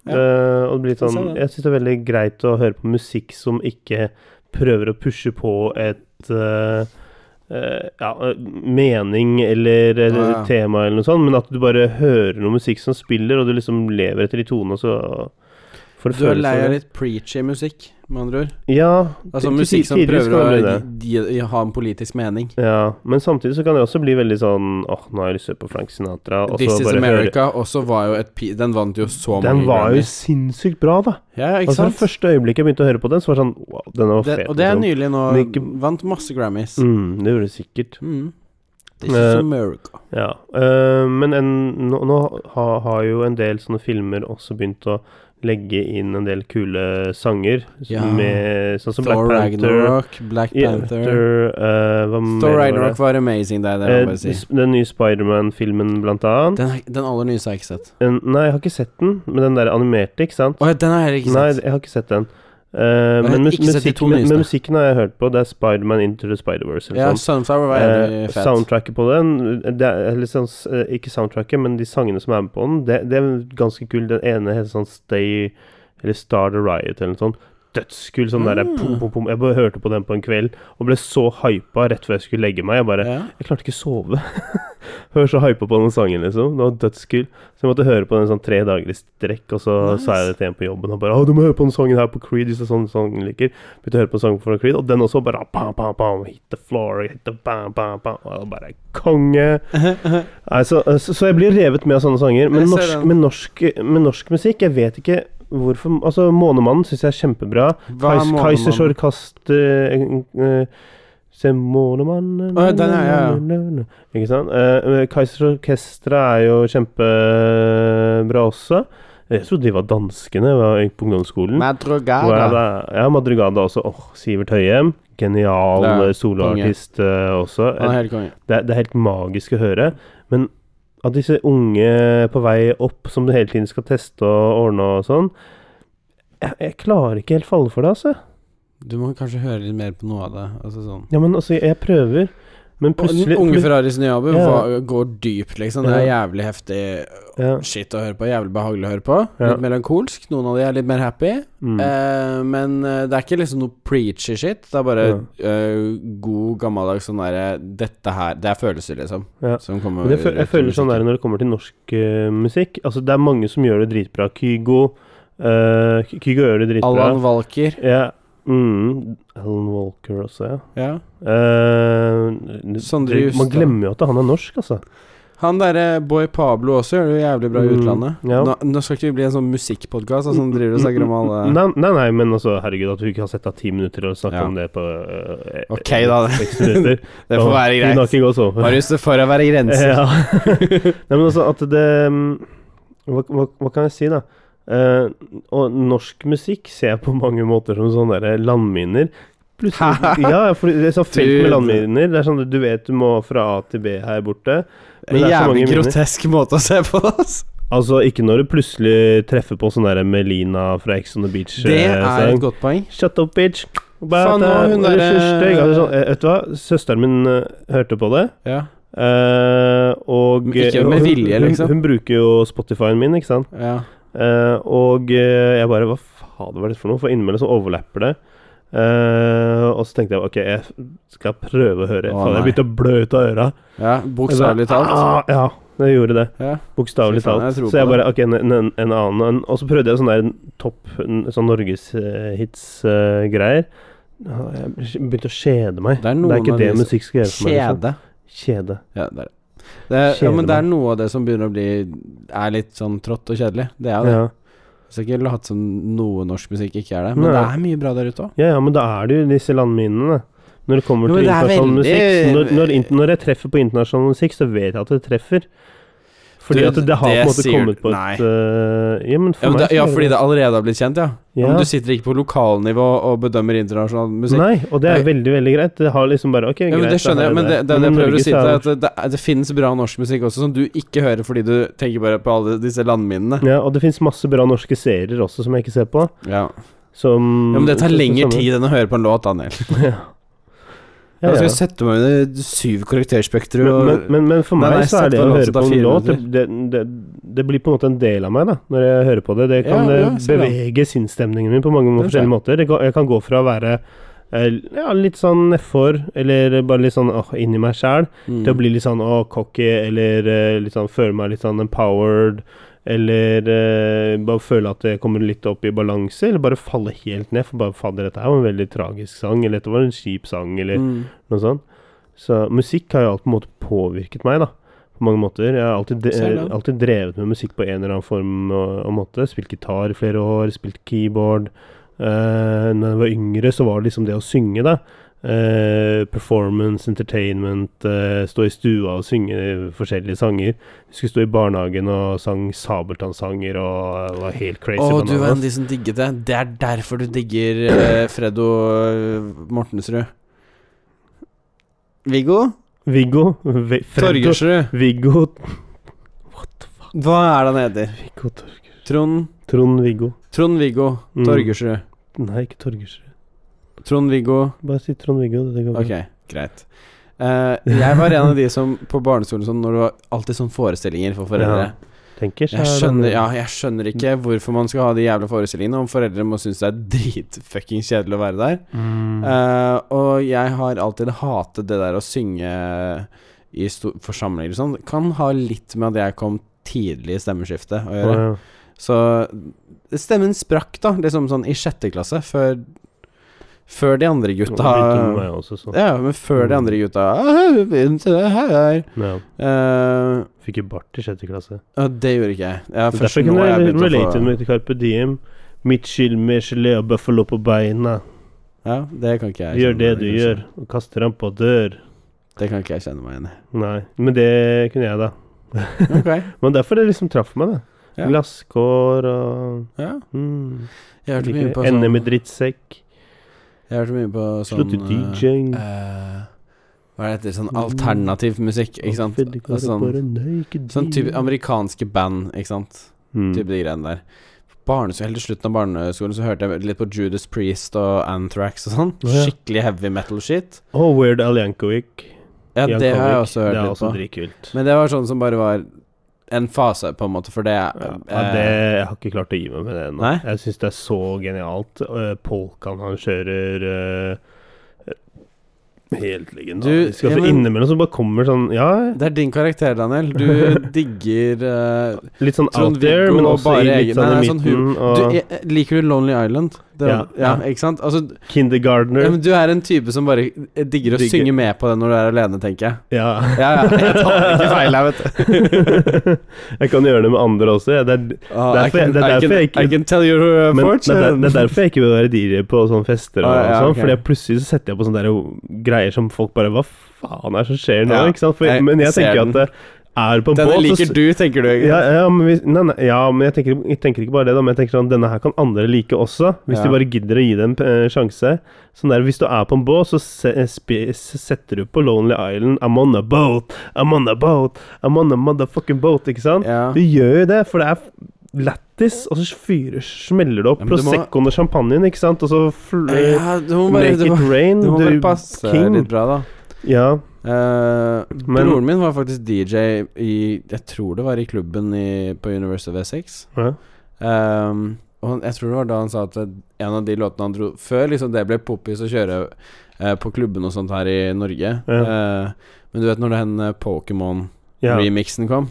Ja. Eh, og det blir Jeg sånn ser det. Jeg syns det er veldig greit å høre på musikk som ikke prøver å pushe på et eh, eh, ja, eh, mening eller, eller Ah, Ja, ja. tema eller noe sånt, men at du bare hører noe musikk som spiller, og du liksom lever etter de tonene, og så får Du er følelsen lei av av det. litt preachy musikk, med andre ord? Ja. Altså til- til musikk som tider så prøver kan å det bli gi, det. gi- ha en politisk mening. Ja, men samtidig så kan det også bli veldig sånn Åh, nå har jeg lyst til å høre på Frank Sinatra. Og This så Is bare høre America også var jo et pi- Den vant jo så mange Den var jo Grammys. sinnssykt bra, da. Ja, ja, ikke Altså, sant? det første øyeblikket jeg begynte å høre på den, så var det sånn Wow, den var Det, fet. og det er liksom. nylig nå. Men ikke- Vant masse Grammys. Mm, det gjorde det sikkert. Mm. This is Eh, America. Ja. Eh, men en, nå, nå ha, har jo en del sånne filmer også begynt å legge inn en del kule sanger. som Ja. Med, sånn som Thor Black Panther. Ragnarok, Black Ja, Panther. Thor, eh, hva mer Thor var det? Ragnarok var amazing der, det må jeg Eh, bare si. den nye Spiderman-filmen, blant annet. Den, er- den aller nyeste har jeg ikke sett. En, nei, jeg har ikke sett den, men den der animerte, ikke sant? Å ja, den har jeg ikke Nei, sett. jeg har ikke sett den. Eh, har men, mus ikke sett de to musikken, men nyeste. musikken har jeg hørt på. Det er Spiderman Into the Spider-Verse. eller ja, sånn. Sunflower var Eh, jævlig fet. soundtracket på den det er, eller sånn, s- eh, Ikke soundtracket, men de sangene som er med på den, det, det er ganske kult. Den ene heter sånn Stay Eller Star the Riot eller noe sånt. Dødskul sånn der Mm. pom, pom, pom. Jeg bare hørte på den på en kveld og ble så hypa rett før jeg skulle legge meg. Jeg bare Ja. Jeg klarte ikke å sove. Jeg var så hypa på den sangen, liksom. Det var dødskul. Så jeg måtte høre på den sånn tre dager i strekk, og så Nice. sa jeg det til en på jobben. Og bare 'Å, du må høre på den sangen her på Creed', hvis det er sånn sangen du liker. Begynte å høre på sangen fra Creed, og den også bare bam, bam, bam, Hit the floor, hit the bam, bam, bam. Og jeg bare konge. Nei, så, så, så jeg blir revet med av sånne sanger. Men Jeg ser norsk, den. men norsk, men norsk musikk, jeg vet ikke hvorfor Altså, 'Månemannen' syns jeg er kjempebra. Hva er Kais- månemannen? Kaizers orkast eh, eh, Se månemannen Å, ja, den, ja, ja, ja. Ikke sant? Eh, Kaizers orkestra er jo kjempebra også. Jeg trodde de var danskene da jeg gikk på ungdomsskolen. Hva er Madrugada. det? Ja, Madrugada også. Åh, Sivert Høyem. Genial Ja, eh, soloartist eh, også. Han er helt konge. Det, er- det er helt magisk å høre. Men at disse unge på vei opp som du hele tiden skal teste og ordne og sånn jeg, jeg klarer ikke helt falle for det, altså. Du må kanskje høre litt mer på noe av det. Altså sånn Ja, men altså, jeg prøver. Men plutselig Unge Ferraris nye album Ja. var- går dypt, liksom. Det er jævlig heftig Ja, shit å høre på. Jævlig behagelig å høre på. Ja. Litt melankolsk. Noen av de er litt mer happy. mm, Eh, men eh, det er ikke liksom noe preachy shit. Det er bare eh, god, gammeldags sånn derre Dette her Det er følelser, liksom. Ja. Som kommer men jeg, føl, jeg rett i føler sånn der musikken. når det kommer til norsk eh, musikk Altså, det er mange som gjør det dritbra. Kygo eh, Ky- Kygo gjør det dritbra. Alan Walker. Ja. Mm, Alan Walker også, ja. Ja. Eh, Sondre det- Man Justad. glemmer jo at han er norsk, altså. Han derre Boy Pablo også gjør det jo jævlig bra i Mm, utlandet. ja. Mm. Nå, nå skal ikke vi bli en sånn musikkpodkast altså, som driver og snakker om alle Nei, nei, nei, men altså, herregud, at du ikke har sett deg ti minutter og snakket Ja. om det på øh, eh, Ok, da. seks minutter. Det får være Du greit. nok ikke også. Marius, det får være grenser. Ja. nei, men altså, at det mm, hva, hva, hva kan jeg si, da? Eh, og norsk musikk ser jeg på mange måter som sånne der landminer. Plutselig, ja, for det er sånn felt med Dude. landminer. Det er sånn at Du vet du må fra A til B her borte. Men det er så Jævlig mange minner. grotesk måte å se på det, ass. Altså, ikke når du plutselig treffer på sånn der Melina fra Ex on the Det er Beach-sang. et godt poeng. Shut up, bitch. Faen, nå, hun Det er der- første gang. Altså, eh, Vet du hva, søsteren min eh, hørte på det. Ja. eh, og Men ikke med hun- vilje, liksom. Hun, hun bruker jo Spotify-en min, ikke sant. ja. Eh, og eh, jeg bare Hva faen var dette for noe? For innimellom så overlapper det. Eh, og så tenkte jeg ok, jeg skal prøve å høre. Å, faen, jeg nei. begynte å blø ut av øra. ja Bokstavelig Jeg bare, talt. Ah, ja, det gjorde det. Ja. Bokstavelig Fy faen, talt. jeg tror Så jeg på det. bare Ok, en, en, en annen. En, og så prøvde jeg sånn der topp n- Sånn norgeshits-greier. Ah, jeg begynte å kjede meg. Det er Det noen er ikke av det de som- musikk skal gjøre for meg. Liksom. Kjede. Kjede. Ja, det er det. Det er, ja, Kjeder men det er meg. noe av det som begynner å bli Er litt sånn trått og kjedelig. Det er jo det. Ja. Så ikke late som noe norsk musikk ikke er det. Men Nei. det er mye bra der ute òg. ja ja, men da er det jo disse landminene. Når det kommer Jo, men til det er internasjonal veldig- musikk når, når, int- når jeg treffer på internasjonal musikk, så vet jeg at det treffer. Fordi Du, at det har på det en måte sier- kommet på nei. et øh, Ja, men for Ja, men meg det, ja, så er fordi det allerede har blitt kjent, ja. Ja. Men du sitter ikke på lokalnivå og bedømmer internasjonal musikk. Nei, og det er Nei. veldig, veldig greit. Det har liksom bare Ok, Ja, men greit. det skjønner da har jeg, men det, det, er det Men jeg prøver Norge å si så er til deg, det- at det, det, det finnes bra norsk musikk også som du ikke hører fordi du tenker bare på alle disse landminene. Ja, og det fins masse bra norske serier også som jeg ikke ser på. Ja. Som ja, Men det tar som- lengre som- tid enn å høre på en låt, Daniel. Altså, ja. Ja, Jeg ja. skal sette meg under syv karakterspektrum og Men, men, men for Nei, meg nei, så er sett det på en å låt høre som på tar en fire låt det, det, det, det blir på en måte en del av meg, da, når jeg hører på det. Det kan Ja, eh, ja, så bra. bevege sinnsstemningen min på mange Det er forskjellige måter. Det kan, jeg kan gå fra å være eh, ja, litt sånn nedfor, eller bare litt sånn åh, inni meg sjæl, Mm. til å bli litt sånn åh, cocky, eller eh, litt sånn føle meg litt sånn empowered, eller eh, bare føle at jeg kommer litt opp i balanse, eller bare falle helt ned, for bare fader, dette her var en veldig tragisk sang, eller dette var en kjip sang, eller mm. noe sånt. Så musikk har jo alltid på en måte påvirket meg, da. På mange måter. Jeg har alltid, de Selv da. alltid drevet med musikk på en eller annen form og, og måte. Spilt gitar i flere år, spilt keyboard. Uh, når jeg var yngre, så var det liksom det å synge, da. Eh, performance, entertainment, eh, stå i stua og synge forskjellige sanger. Vi skulle stå i barnehagen og sang Sabeltann-sanger og eh, var helt crazy. Å, du var en av bananas. de som digget det. Det er derfor du digger eh, Freddo eh, Mortensrud. Viggo Viggo Ve- Freddo, Torgersrud. Viggo Hva er det han heter? Viggo Tor- Trond Trond-Viggo. Trond-Viggo Mm. Torgersrud. Nei, ikke Torgersrud. Trond-Viggo Bare si Trond-Viggo. Det går bra. Ok, greit. Eh, jeg var en av de som på barneskolen sånn, når det var alltid sånne sånn forestillinger for foreldre. tenker. så Jeg er det- skjønner, ja, jeg skjønner ikke hvorfor man skal ha de jævla forestillingene om foreldre må synes det er dritfuckings kjedelig å være der. Mm. Eh, og jeg har alltid hatet det der å synge i sto- forsamlinger og sånn. Kan ha litt med at jeg kom tidlig i stemmeskiftet å Å, gjøre. ja. Så stemmen sprakk, da, liksom sånn i sjette klasse, før, før de andre Og begynte med gutta meg også, så. Ja, men før de Mm. andre gutta «Åh, begynn til det her. Ja. Eh, Fikk jo bart i sjette klasse. ja, det gjorde ikke jeg. jeg Så Derfor kunne jeg relate med til Carpe Diem. Mitchell med gelé og buffalo på beina. Ja, det liksom. kan ikke jeg Gjør kjenne det meg du igjen i, gjør, og kaster ham på dør. kanskje. Det kan ikke jeg kjenne meg igjen i. Nei, men det kunne jeg, da. Ok, Men derfor det liksom traff meg, da. Ja. Glasskår og ja. mm, Jeg hørte mye liker på det. sånn Ende med drittsekk. Jeg hørte mye på sånn Slutt eh, ut DJ-ing. eh, Hva er det heter? Sånn alternativ musikk, ikke sant? Hvorfor går Og det Sånn, bare nøy, ikke sånn de? type amerikanske band, ikke sant? Mm. Type de greiene der. Barnes, helt til slutten av barneskolen så hørte jeg litt på Judas Priest og Anthrax og sånn. Å, ja. Skikkelig heavy metal shit. Og Oh, Weird Al Yankovic. Ja, det har jeg Yankovic, også hørt Det er litt også på. dritkult. Men det var sånn som bare var en fase, på en måte, for det Ja, ja, eh, det, jeg har ikke klart å gi meg med det ennå. Nei? Jeg syns det er så genialt. Øh, Polkan han kjører øh, Helt legendarisk. Du, ja, altså, men- innimellom så bare kommer sånn Ja, Det er din karakter, Daniel. Du digger eh, litt sånn Trond out there, Viggo men og også bare i litt egen- sånn i nei, nei, sånn midten. du, og eh, Liker du Lonely Island? Det, ja, Ja, ja. Ikke sant? Altså, Kindergartner. ja, men du er en type som bare digger å Digger. synge med på det når du er alene, tenker jeg. ja. Ja, ja, jeg tar ikke feil her, vet du. jeg kan gjøre det med andre også. Ja. Det er Ah, Derfor I jeg- can- det er I derfor can- jeg ikke- I can tell your uh, Men det fortune. er, der- det er derfor jeg ikke vil være DJ på sånne fester. Og, Ah, ja, sånn, ok. Fordi jeg plutselig så setter jeg på sånne der greier som folk bare Hva faen er det som skjer nå? Ja, ikke sant? For, jeg men jeg ser tenker den. at det er på en Denne båt så liker s- du, tenker du. ikke ja, sant? ja, men, hvis, nei, nei, ja, men jeg tenker, jeg tenker ikke bare det, da, men jeg tenker sånn denne her kan andre like også. Hvis Ja. de bare gidder å gi det en eh, sjanse. Sånn der, Hvis du er på en båt, så se, eh, spi- s- setter du på Lonely Island I'm on a boat, I'm on a boat, I'm on a motherfucking boat. Ikke sant? Ja. Du gjør jo det, for det er f- lættis, og så fyrer, smeller det opp Ja, men du må- Proseccoen og champagnen, ikke sant? Og så fl Ja, du må bare, Make du må, it rain, du må bare du passe king. litt bra, da. Ja. Eh, Men- broren min var faktisk DJ i Jeg tror det var i klubben i, på University of Essex. ja. Ehm, og han, jeg tror det var da han sa at en av de låtene han dro Før liksom det ble poppis å kjøre eh, på klubben og sånt her i Norge. Eh, men du vet når den eh, ja. Pokémon-remixen kom?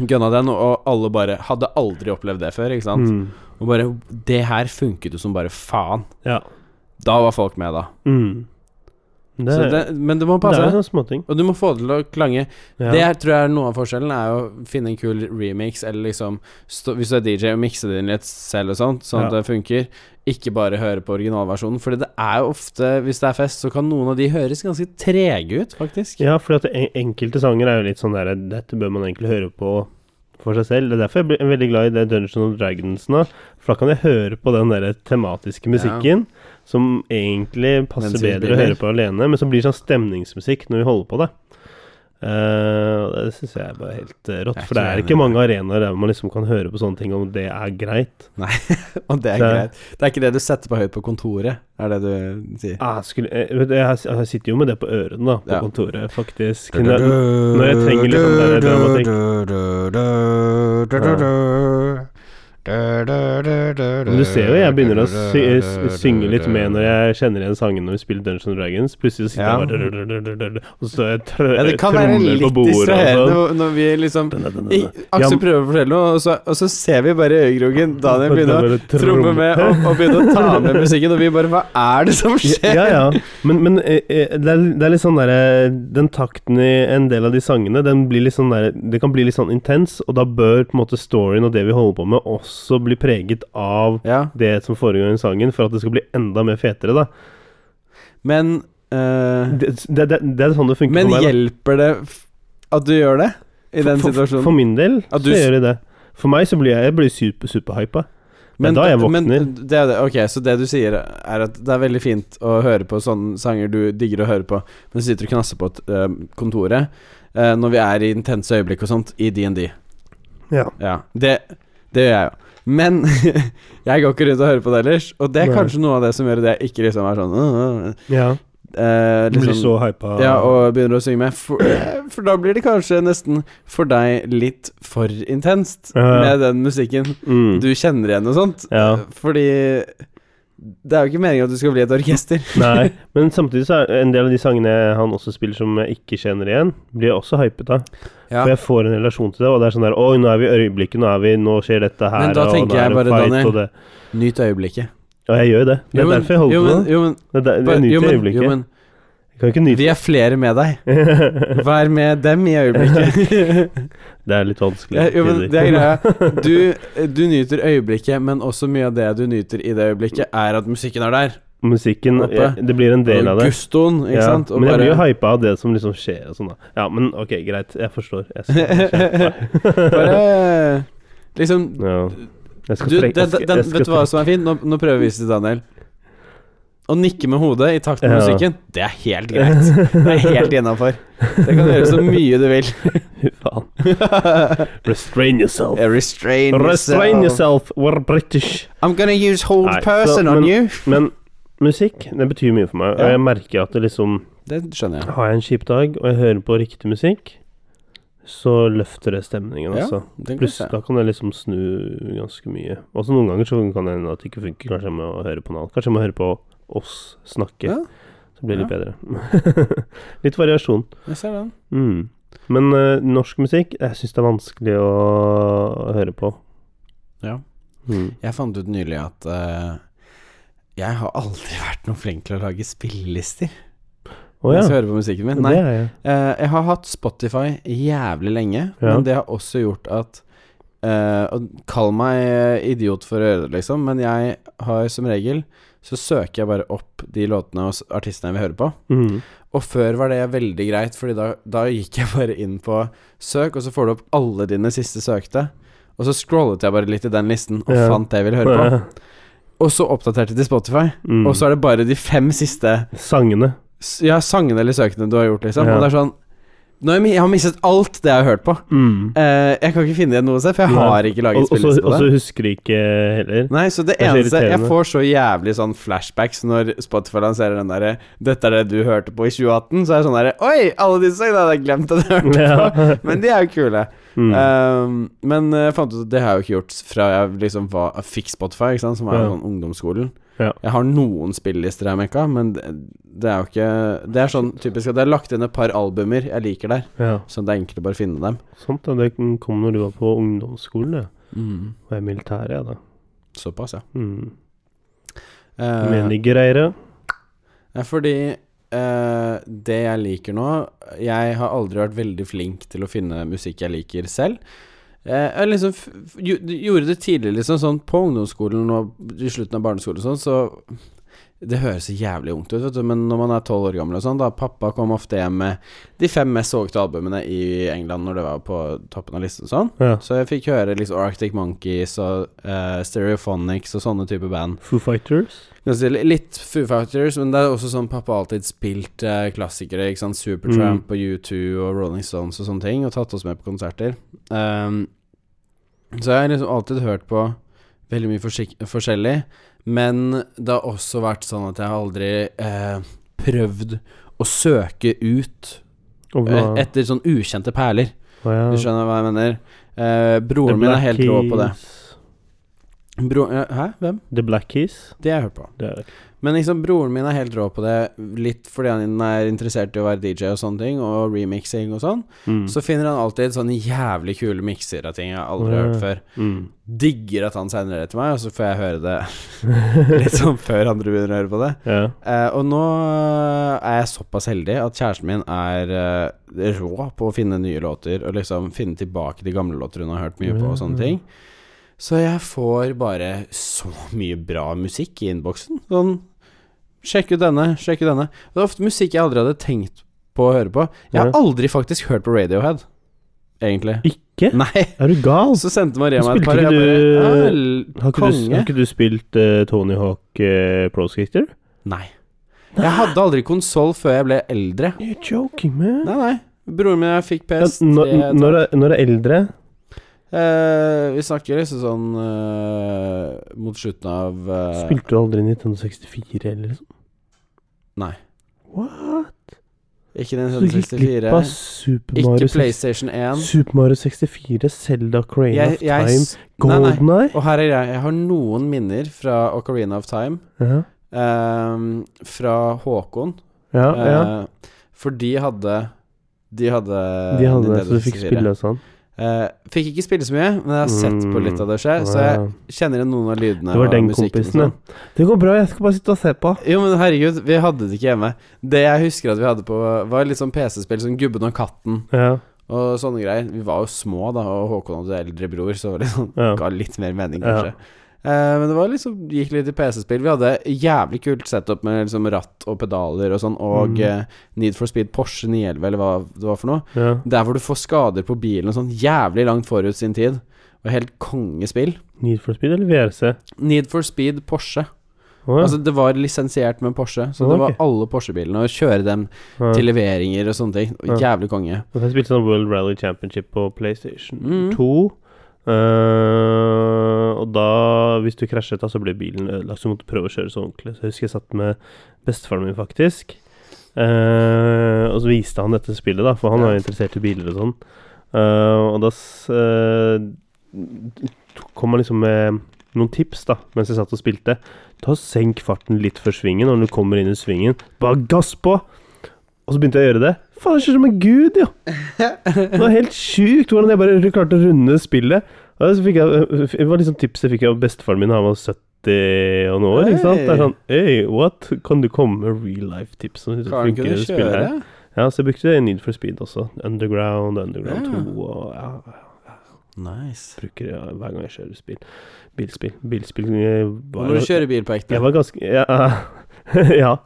Gunna den, og alle bare Hadde aldri opplevd det før, ikke sant? Mm. Og bare Det her funket jo som bare faen. ja. Da var folk med, da. Mm. Det, Så det, det, men det må er jo sånn. passe. sånne småting. Og du må få det til å klange. Ja. Det jeg tror jeg er noe av forskjellen, er å finne en kul remix, eller liksom stå, Hvis du er DJ, og mikse det inn litt selv og sånt, sånn at Ja. det funker. Ikke bare høre på originalversjonen. Fordi det er jo ofte, hvis det er fest, så kan noen av de høres ganske trege ut, faktisk. Ja, for enkelte sanger er jo litt sånn der Dette bør man egentlig høre på for seg selv. Det er derfor jeg blir veldig glad i det Dungeons and Dragons nå. For da kan jeg høre på den der tematiske musikken som egentlig passer Mens vi bedre å spiller. høre på alene, men som blir sånn stemningsmusikk når vi holder på, da. Eh, og det syns jeg er bare helt eh, rått. Jeg er For det ikke er enig ikke i mange arenaer der man liksom kan høre på sånne ting, om det er greit. Og det er Det- greit. Det er ikke det du setter på høyt på kontoret, er det du sier. Ah, skulle, jeg, vet, du, jeg, har- jeg sitter jo med det på ørene, da, på Ja. kontoret, faktisk. når jeg trenger litt sånn der dramatikk. Men du ser jo jeg begynner å sy eh, s- synge litt med når jeg kjenner igjen sangene når vi spiller Dungeons and Dragons. Plutselig så sitter Ja. jeg bare Og så står jeg og tr ja, Det kan være trommer på litt bordet distraherende og sånn. hvor- når vi liksom Dun, dun, dun, I, dun. Aksel Ja, prøver å fortelle noe, og så, og så ser vi bare i øyekroken Daniel begynne å Bare tromme med og, og begynne å ta med musikken, og vi bare Hva er det som skjer? Ja, ja. Men, men eh, eh, det, er, det er litt sånn derre Den takten i en del av de sangene, den blir litt sånn derre Det kan bli litt sånn intens, og da bør på en måte storyen og det vi holder på med, også bli preget av Ja, det som foregår i sangen, for at det skal bli enda mer fetere, da. men eh, Det, det, det, det er sånn det funker Men for meg. da. hjelper det f- at du gjør det? I den For- for- For situasjonen? min del At du så s- gjør de det. For meg så blir jeg, jeg blir super, superhypa. Men, da jeg våkner. Men det er det. Ok, så det du sier, er at det er veldig fint å høre på sånne sanger du digger å høre på, men så sitter du og knasser på et, eh, kontoret eh, når vi er i intense øyeblikk og sånt, i DND. Ja. Ja, det, det gjør jeg jo. Men jeg går ikke rundt og hører på det ellers, og det er Nei. kanskje noe av det som gjør at jeg ikke liksom er sånn øh, øh. ja. eh, Du blir liksom, så hypa. ja, Ah. og begynner å synge med. For, eh, for da blir det kanskje nesten for deg litt for intenst Ja. med den musikken Mm. du kjenner igjen og sånt. Ja. Fordi det er jo ikke meningen at du skal bli et orkester. Nei, men samtidig så er en del av de sangene han også spiller som jeg ikke kjenner igjen, blir jeg også hypet av. Ja. For jeg får en relasjon til det, og det er sånn der Oi, nå er vi i øyeblikket, nå er vi Nå skjer dette her, Men da og tenker nå er jeg det bare, fight, Daniel, og det Nyt øyeblikket. Og jeg gjør det. Det er Jo, men- derfor jeg holder jo, på men- med det. Jo, men, Det er der, jeg bare- jo, nyter men- øyeblikket. Jo, men jeg kan ikke nyte vi er flere med deg. Vær med dem i øyeblikket. Det er litt vanskelig. Ja, jo, men tider. det er greia. Du, du nyter øyeblikket, men også mye av det du nyter i det øyeblikket, er at musikken er der. Musikken Oppe. jeg, Det blir en del Og av det. Gustoen, ikke Ja, sant. Og men jeg blir jo bare, hypa av det som liksom skjer og sånn, da. Ja, men ok, greit. Jeg forstår. Jeg skal bare Liksom ja. Jeg skal du, strekke- jeg den, skal- den, jeg skal Vet du hva strekke- som er fint? Nå, nå prøver vi å vise til Daniel. Å nikke med hodet i takt med Ja. musikken, det er helt greit. Det er helt innafor. Det kan du gjøre så mye du vil. Fy faen. Restrain yourself. Restrain, Restrain yourself, we're British. I'm gonna use hold Nei, så- person on men- you. Men musikk, det betyr mye for meg. Ja. Og jeg merker at det liksom Det skjønner jeg. Har jeg en kjip dag, og jeg hører på riktig musikk, så løfter det stemningen, Ja, altså. det kan Pluss, jeg se. da kan jeg liksom snu ganske mye. Også noen ganger så kan det hende at det ikke funker. Kanskje jeg må høre på noe annet. Kanskje jeg må høre på oss snakke. Ja. Så blir det litt bedre. litt variasjon. Jeg ser den. Mm. Men eh, norsk musikk, jeg syns det er vanskelig å høre på. Ja. Mm. Jeg fant ut nylig at eh, jeg har aldri vært noe flink til å lage spillelister Å mens jeg ja. hører på musikken min. Nei, Det er jeg. Eh, jeg har hatt Spotify jævlig lenge, Ja. men det har også gjort at eh, og Kall meg eh, idiot for å gjøre det, liksom, men jeg har som regel Så søker jeg bare opp de låtene og s- artistene jeg vil høre på. Mm. Og før var det veldig greit, Fordi da, da gikk jeg bare inn på søk, og så får du opp alle dine siste søkte. Og så scrollet jeg bare litt i den listen og Ja. fant det jeg ville høre på. Og så oppdaterte til Spotify, Mm. og så er det bare de fem siste Sangene. s- ja, sangene eller søkene du har gjort, liksom. Ja. Og det er sånn nå har jeg, mi- jeg har mistet alt det jeg har hørt på. Mm. Eh, jeg kan ikke finne igjen noe sted, for jeg Nei. har ikke laget Og og så spilleliste og på så det. husker de ikke heller. Nei, så det Det er så eneste Jeg irriterende. får så jævlig sånn flashbacks når Spotify lanserer den derre 'Dette er det du hørte på i 2018', så er det sånn derre 'Oi, alle disse sangene hadde jeg glemt at jeg hørte på'. Ja. Men de er jo kule. Mm. Um, men eh, jeg fant ut at det har jeg jo ikke gjort fra jeg liksom var, jeg fikk Spotify, ikke sant, som er Ja. sånn ungdomsskolen. Ja. Jeg har noen spillelister jeg mekka, men det, det er jo ikke Det er sånn typisk at jeg har lagt inn et par albumer jeg liker der, ja. så det er enkelt å bare finne dem. Sant, da. Det kom når du var på ungdomsskolen, det. Og jeg er militær, jeg, da. Såpass, ja. Mm. Eh, Mener greiere. ja, fordi eh, det jeg liker nå Jeg har aldri vært veldig flink til å finne musikk jeg liker selv. Eh, jeg liksom f f gjo- gjorde det tidligere, liksom, sånn på ungdomsskolen og i slutten av barneskolen og sånn, så Det høres så jævlig ungt ut, vet du, men når man er tolv år gammel og sånn, da pappa kom ofte hjem med de fem mest solgte albumene i England når det var på toppen av listen og sånn. Ja. Så jeg fikk høre liksom Arctic Monkeys og eh, Stereophonics og sånne type band. Foo Fighters. Ganske li- Litt Foo Fighters, men det er også sånn pappa har alltid spilt eh, klassikere. ikke sant? Supertramp Mm. og U2 og Rolling Stones og sånne ting, og tatt oss med på konserter. Ehm, så jeg har liksom alltid hørt på veldig mye forsik- forskjellig, men det har også vært sånn at jeg har aldri eh, prøvd å søke ut Og eh, hva- etter sånn ukjente perler. hva ja. Du skjønner hva jeg mener? Eh, broren min er helt rå på det. Bro, eh, hæ? Hvem? The Black Keys. Det har jeg hørt på. Det er Men liksom, broren min er helt rå på det, litt fordi han er interessert i å være DJ og sånne ting, og remixing og sånn. mm. Så finner han alltid sånne jævlig kule mikser av ting jeg aldri har Ja. hørt før. mm. Digger at han sender det til meg, og så får jeg høre det litt sånn før andre begynner å høre på det. Ja. Eh, og nå eh, er jeg såpass heldig at kjæresten min er eh, rå på å finne nye låter, og liksom finne tilbake de gamle låter hun har hørt mye på, og Mm. sånne ting. Så jeg får bare så mye bra musikk i innboksen. Sånn Sjekk ut denne, sjekk ut denne. Det er ofte musikk jeg aldri hadde tenkt på å høre på. Jeg har Ja. aldri faktisk hørt på Radiohead, egentlig. Ikke? Nei. Er du gal? Så sendte Maria meg Spilte et par, og ikke jeg du- bare ja, l- Har ikke, du, har Konge. ikke du spilt eh, Tony Hawk eh, Pro Skater? Nei. Jeg hadde aldri konsoll før jeg ble eldre. You're joking, man. Nei, nei. Broren min jeg fikk Ja, PS3 når, når, er- når er eldre Eh, Vi snakker liksom sånn eh, mot slutten av eh, Spilte du aldri 1964 eller sånn? Nei. liksom? What? Ikke den Så du gikk glipp av 64. Super Mario, 64, Ikke PlayStation 1. Super Mario 64, Zelda Crane Jeg, of jeg, Time, s- nei, nei. Golden Eye. Og her er jeg. Jeg har noen minner fra Ocarina of Time. Ja, ehm, fra Håkon. ja. ja. eh, for de hadde De hadde De hadde det, Nintendo så du fikk 64. spille og sånn. Eh, fikk ikke spille så mye, men jeg har sett på litt av det skje, Eh, så jeg Wow. kjenner igjen noen av lydene. Mm, Det var og den musikken og kompisen, sånn. ja. Det går bra, jeg skal bare sitte og se på. Jo, men herregud, vi hadde det ikke hjemme. Det jeg husker at vi hadde på, var litt sånn PC-spill som Gubben og katten Ja, og sånne greier. Vi var jo små da, og Håkon hadde eldre bror, så det liksom ja. ga litt mer mening, Ja. kanskje. Eh, men det var liksom, gikk litt i PC-spill. Vi hadde jævlig kult setup med liksom ratt og pedaler og sånn, og Mm. eh, Need for Speed Porsche 911, eller hva det var for noe. ja. Der hvor du får skader på bilen og sånn, jævlig langt forut sin tid. Og helt kongespill. Need for speed eller VRC? Need for Speed Porsche. Å, ja. Altså, det var lisensiert med Porsche, så Ok. det var alle Porsche-bilene, og kjøre dem Ja. til leveringer og sånne ting. Og Ja. Jævlig konge. Og Jeg spilte sånn World Rally Championship på PlayStation Mm. 2. eh, og da, hvis du krasjet, da, så ble bilen ødelagt, så du måtte prøve å kjøre så ordentlig. Så jeg husker jeg satt med bestefaren min, faktisk. Eh, og så viste han dette spillet, da, for han Ja. var jo interessert i biler og sånn. Eh, og da s- eh, kom han liksom med noen tips, da, mens jeg satt og spilte. Ta og Senk farten litt for svingen, og når du kommer inn i svingen, bare gass på! Og så begynte jeg å gjøre det. Faen, jeg kjører som en gud, jo! Det var helt sjukt hvordan jeg bare klarte å runde spillet. Og så fikk jeg, det var liksom tipset jeg fikk av bestefaren min, han var 70 og noe år. ikke sant? Det er sånn Øy, what? Kan du komme med real life-tips? som Kan ikke funker i du det spillet kjøre? her? Ja, så jeg brukte det i Need for Speed også. Underground, Underground Ja. 2 og ja, jeg Nice. bruker det hver gang jeg kjører bil. Bilspill. Bilspill eh, Og var, når du kjører bil på ekte Jeg var ganske Ja. ja.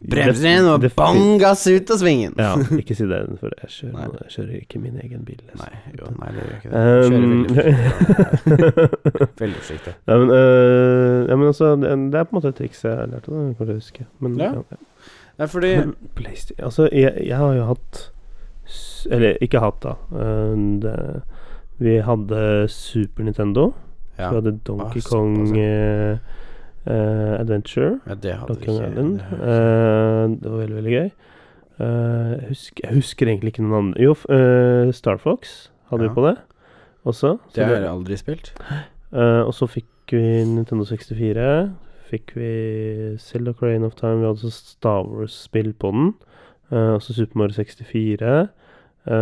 Brems inn og Det- det- bang gass ut av svingen! Ja, ikke si det, for jeg Nei. kjører, jeg kjører ikke min egen bil. liksom. Nei, jo, nei, det gjør ikke det. Kjører Um, veldig forsiktig. Veldig forsiktig. Nei, men, øh, ja, men altså, det, det er på en måte et triks jeg har lært av det, kan jeg huske. Men, Ja. Nei, fordi Men PlayStation Altså, jeg, jeg har jo hatt s- Eller ikke hatt, da. Øh, det, vi hadde Super Nintendo. ja, Vi hadde Donkey Ah, såpass, Kong ja. eh, eh, Adventure. ja, det hadde Donkey vi Kong ikke. Island. det Eh, hadde vi ikke. det var veldig, veldig gøy. Eh, jeg, husker, jeg husker egentlig ikke noen andre Jo, f- eh, Star Fox hadde Ja. vi på det også. Så Det har det- jeg aldri spilt. Eh, og så fikk vi Nintendo 64. Fikk vi Zelda Crane of Time. Vi hadde også Star Wars-spill på den. Eh, og så Super Mario 64.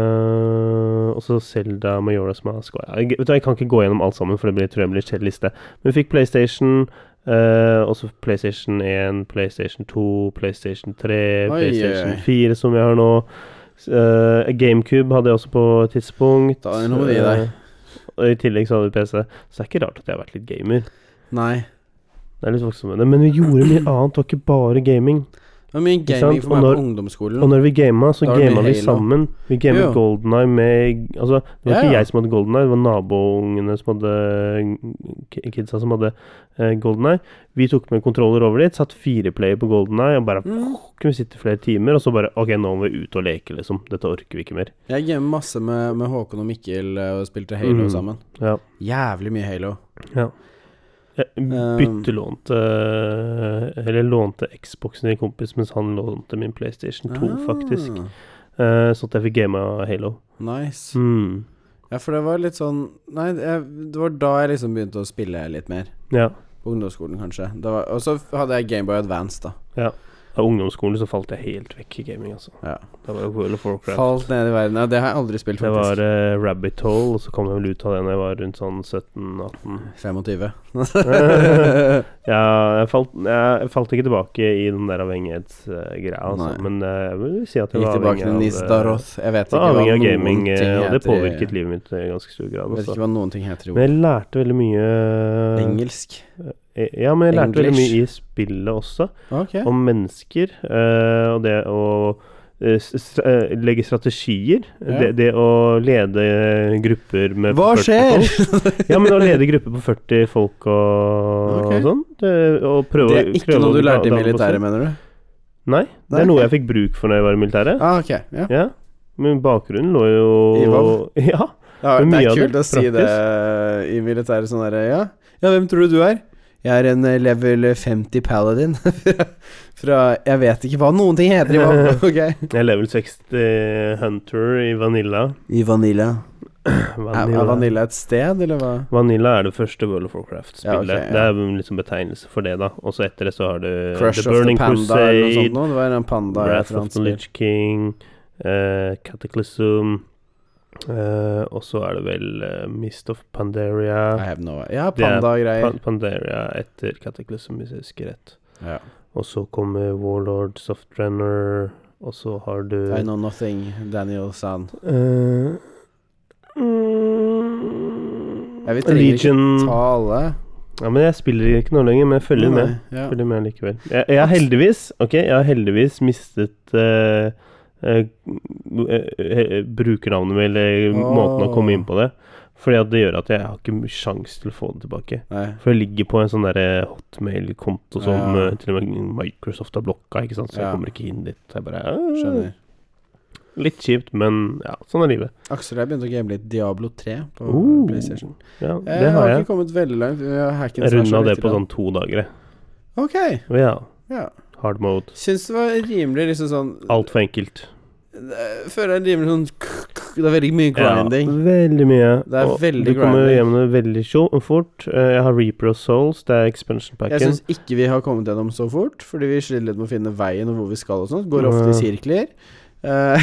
eh, og så Zelda Majora's Mask. Og Jeg, vet du, hva, jeg kan ikke gå gjennom alt sammen, for det blir, tror jeg blir en kjedelig liste. Men vi fikk PlayStation. eh, også PlayStation 1, PlayStation 2, PlayStation 3, Oi, PlayStation oi. 4, som vi har nå. Eh, GameCube hadde jeg også på et tidspunkt. Da er det noe med de der. Eh, og I tillegg så hadde vi PC. Så det er ikke rart at jeg har vært litt gamer. Nei. Det er litt voksen med det. Men vi gjorde mye annet, det var ikke bare gaming. Det var mye Ikke sant? gaming for Og meg når- på Og ungdomsskolen. når vi gama, så Da var det gama vi Halo. sammen. Vi gamet Jo. Golden Eye med Altså, det var Ja, ikke ja. jeg som hadde Golden Eye, det var naboungene som hadde ki- Kidsa som hadde eh, Golden Eye. Vi tok med kontroller over dit, satt fire player på Golden Eye, og bare Mm. kunne vi sitte flere timer, og så bare OK, nå må vi ut og leke, liksom. Dette orker vi ikke mer. Jeg gamet masse med, med Håkon og Mikkel eh, og spilte Halo Mm. sammen. Ja. Jævlig mye Halo. Jeg Ehm. byttelånte Eller lånte Xboxen til en kompis, mens han lånte min PlayStation 2, Ah, faktisk. Eh, sånn at jeg fikk gama Halo. Nice. Mm. Ja, for det var litt sånn Nei, jeg, det var da jeg liksom begynte å spille litt mer. Ja. På ungdomsskolen, kanskje. Det var- Og så hadde jeg Gameboy Advance, da. Av ungdomsskolen så falt jeg helt vekk i gaming, altså. Ja. Det var jo World of Warcraft. Falt ned i verden. Ja, det har jeg aldri spilt, det var faktisk. eh, Rabbit Hole, og så kom jeg vel ut av det når jeg var rundt sånn 17-18. 25. Ja, jeg falt, jeg falt ikke tilbake i den der avhengighetsgreia, altså. Nei. Men eh, jeg vil si at jeg Gikk var tilbake avhengig til av, eh, Nisdaroth. Jeg vet var ikke hva avhengig noen av gaming, ting eh, og det heter i- påvirket livet mitt eh, i ganske stor grad. Vet Altså. ikke hva noen ting heter i Men eh, ord. jeg lærte veldig mye eh, Engelsk. Ja, men jeg lærte veldig English. mye i spillet også. Ok. Om mennesker eh, og det å eh, s- s- eh, legge strategier. Ja. Det, det å lede grupper med Hva 40 skjer? folk. Ja, men å lede grupper på 40 folk og, Ok. og sånn. Det, og prøve, Det er ikke prøve noe å du lærte i dra- dra på militæret, sånn. mener du? Nei, det Nei, er noe ok. jeg fikk bruk for når jeg var i militæret. Ah, ok. Ja. Ja. Men bakgrunnen lå jo I WoW? Ja. Ja, Men det mye er av kult det å si det i militæret sånn derre ja. ja, hvem tror du du er? Jeg er en eh, level 50 paladin fra, fra Jeg vet ikke hva noen ting heter i vann. ok? Jeg er level 60 Hunter i Vanilla. I Vanilla. Er, Vanilla. Eh, er Vanilla et sted, eller hva? Vanilla er det første World of Ja, Warcraft-spillet. ok, ja. Det er en liksom betegnelse for det, da. Og så etter det så har du The Crush of the Burning Panda eller noe sånt Crusade, noe? Det var en panda i et Wrath eller of annet the spill. Lich King, eh, Cataclysm eh, Og så er det vel eh, Mist of I Pandaria. have no Ja, Det er panda-greier. Pan Pandaria etter Cataclysm, hvis jeg husker rett. Ja. Og så kommer Warlord, Softrenner, og så har du I know nothing, Daniel Sand. eh, Ja, vi mm, trenger ikke Legion Ta alle. Ja, men jeg spiller ikke nå lenger, men jeg følger med. Ja. Følger med likevel. Jeg, jeg har heldigvis Ok, jeg har heldigvis mistet eh, eh, eh, eh, brukernavnet mitt, eller måten å komme inn på det. Fordi at det gjør at jeg har ikke mye sjanse til å få det tilbake. Nei. For jeg ligger på en sånn derre hotmail-konto som Ja. eh, til og med Microsoft har blokka, ikke sant, så Ja. jeg kommer ikke inn dit. Så jeg bare «Ah, Skjønner. Litt kjipt, men ja, sånn er livet. Aksel og jeg begynte å game litt Diablo 3 på Oh. PlayStation. Ja, Eh, det har jeg. ikke kommet veldig langt. Jeg har hacket Jeg snart runda det litt på grann. sånn to dager, jeg. Ok, Ja. ja. Hard mode. Syns det var rimelig liksom sånn Altfor enkelt. Eh, Føler jeg rimelig sånn k- k- Det er veldig mye grinding. Ja, veldig mye. Det er og veldig du kommer grinding. hjem med det veldig sjo- fort. Eh, Jeg har Reaper of Souls, det er expansion Jeg packen. syns ikke vi har kommet gjennom så fort, fordi vi sliter litt med å finne veien og hvor vi skal og sånt. Går ofte i sirkler. Eh,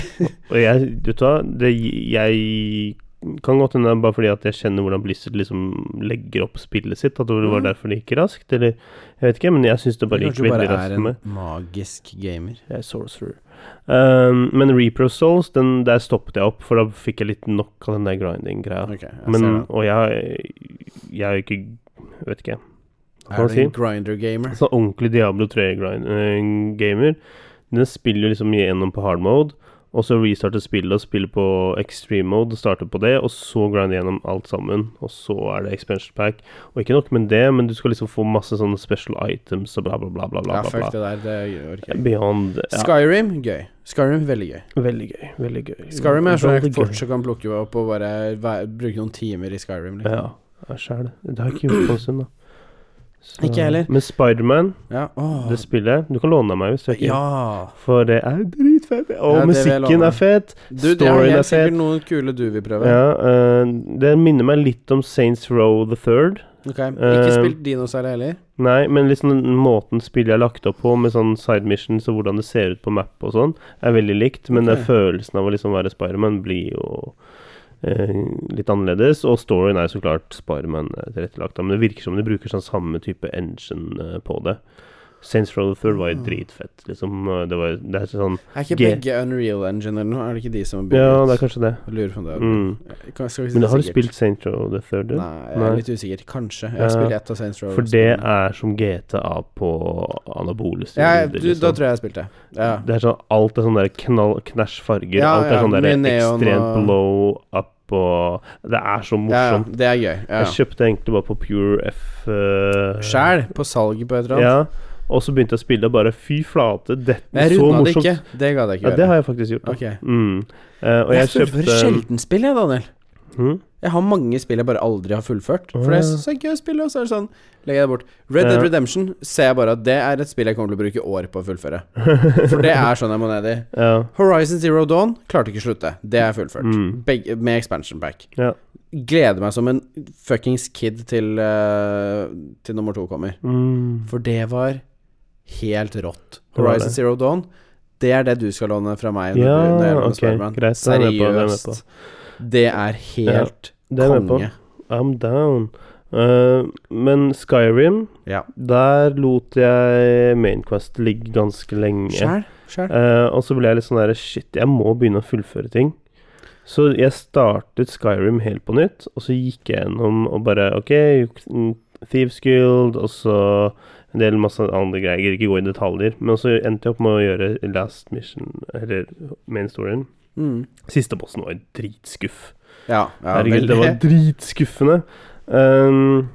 Og jeg, vet du hva, det, jeg kan godt hende det er bare fordi at jeg kjenner hvordan Blizzard liksom legger opp spillet sitt, at det var Mhm. derfor det gikk raskt, eller jeg vet ikke, men jeg syns det bare gikk kanskje du veldig bare raskt er for en eh, meg. magisk gamer. Jeg er sorcerer. Um, men Reaper of Souls, den, der stoppet jeg opp, for da fikk jeg litt nok av den der grinding-greia. Ok, jeg Men, ser det. og jeg, jeg er jo ikke jeg Vet ikke. Hva skal Er du jeg en grinder-gamer? Så ordentlig Diablo 3-gamer. Den spiller jo liksom gjennom på hard mode, og så restarter spillet og spiller på extreme mode, starter på det, og så grinder gjennom alt sammen, og så er det expansion pack. Og ikke nok med det, men du skal liksom få masse sånne special items og bla, bla, bla, bla, bla. Ja, bla, fuck bla. det der. Det orker jeg ikke. Beyond ja, Skyrim, gøy. Skyrim, veldig gøy. Veldig gøy. Veldig gøy. Skyrim er sånn jeg Veldig gøy. fortsatt kan plukke opp og bare væ- bruke noen timer i Skyrim. Liksom. Ja, jeg skjæl. Det har jeg ikke gjort på en stund, da. Så- Ikke jeg heller. Men Spiderman, Ja. Åh, det spillet, du kan låne det av meg hvis du er keen. ja. For det er dritfett. Og Ja, det vil jeg musikken love. er fet. Du, det er Storyen er helt fet. sikkert noen kule du vil prøve. Ja, eh, det minner meg litt om Saints Row the Third. Ok, Ikke Eh, spilt Dinosaur heller? Nei, men liksom den måten spillet er lagt opp på, med sånn side missions og hvordan det ser ut på mappet og sånn, er veldig likt. Men det Ok. er følelsen av å liksom være Spiderman blir jo eh, litt annerledes. Og storyen er jo så klart Spiderman eh, tilrettelagt, da, men det virker som de bruker sånn samme type engine eh, på det. Saints Row the Third var jo Ah. dritfett, liksom. eh, Det, var, det er sånn Er ikke G. begge Unreal Engine eller noe? Er det ikke de som har bygd Ja, ut? det er kanskje det. Jeg lurer på om det. er- Mm. Jeg kan- skal ikke si Men det har du sikkert. spilt Saint Row the Third? du? Nei, jeg er Nei. litt usikker. Kanskje. Jeg har Ja. spilt ett av Saints Row. For det er som GTA på anabole ja, steroider. du, Da tror jeg jeg spilte. Ja. Det er sånn, alt er sånn der knall, knæsj farger. Ja, alt er ja, sånn der mye neon ekstremt og- blow up og Det er så Ja, ja, morsomt. det er gøy. Ja. Jeg kjøpte egentlig bare på Pure F eh, Sjæl, på salg på et eller annet. Ja, og så begynte jeg å spille, og bare fy flate, dette Men er jeg så runda det morsomt. ikke. Det gadd jeg ikke Ja, gjøre. det har jeg faktisk gjort. da. Ok. Mm. Eh, og jeg, jeg fullfører kjøpte sjelden spill, jeg, Daniel. Mm? Jeg har mange spill jeg bare aldri har fullført. For Åh, det ja. syns jeg er gøy å spille, og så er det sånn Legger jeg det bort. Red Dead Ja. Redemption ser jeg bare at det er et spill jeg kommer til å bruke år på å fullføre. For det er sånn jeg må ned i. Ja. Horizon Zero Dawn klarte ikke å slutte. Det er fullført. Mm. Begge, med expansion pack. Ja. Gleder meg som en fuckings kid til, eh, til nummer to kommer. Mm. For det var helt rått. Det var Horizon det. Zero Dawn, det er det du skal låne fra meg. Når Ja, du, når jeg låner ok, Spider-Man. greit. Det er jeg med på, det er jeg med Seriøst. Det er helt Det er jeg med på. konge. I'm down. Eh, men Skyrim, Ja. der lot jeg Mainquest ligge ganske lenge. Sjæl. Sjæl. Eh, og så ble jeg litt sånn der Shit, jeg må begynne å fullføre ting. Så jeg startet Skyrim helt på nytt, og så gikk jeg gjennom og bare OK, mm, Thieves Guild, og så en del masse andre greier. Jeg gidder ikke gå i detaljer. Men så endte jeg opp med å gjøre Last Mission, eller main storyen. Mm. Siste bossen var dritskuff. Ja, ja Herregud, det var dritskuffende. Ehm,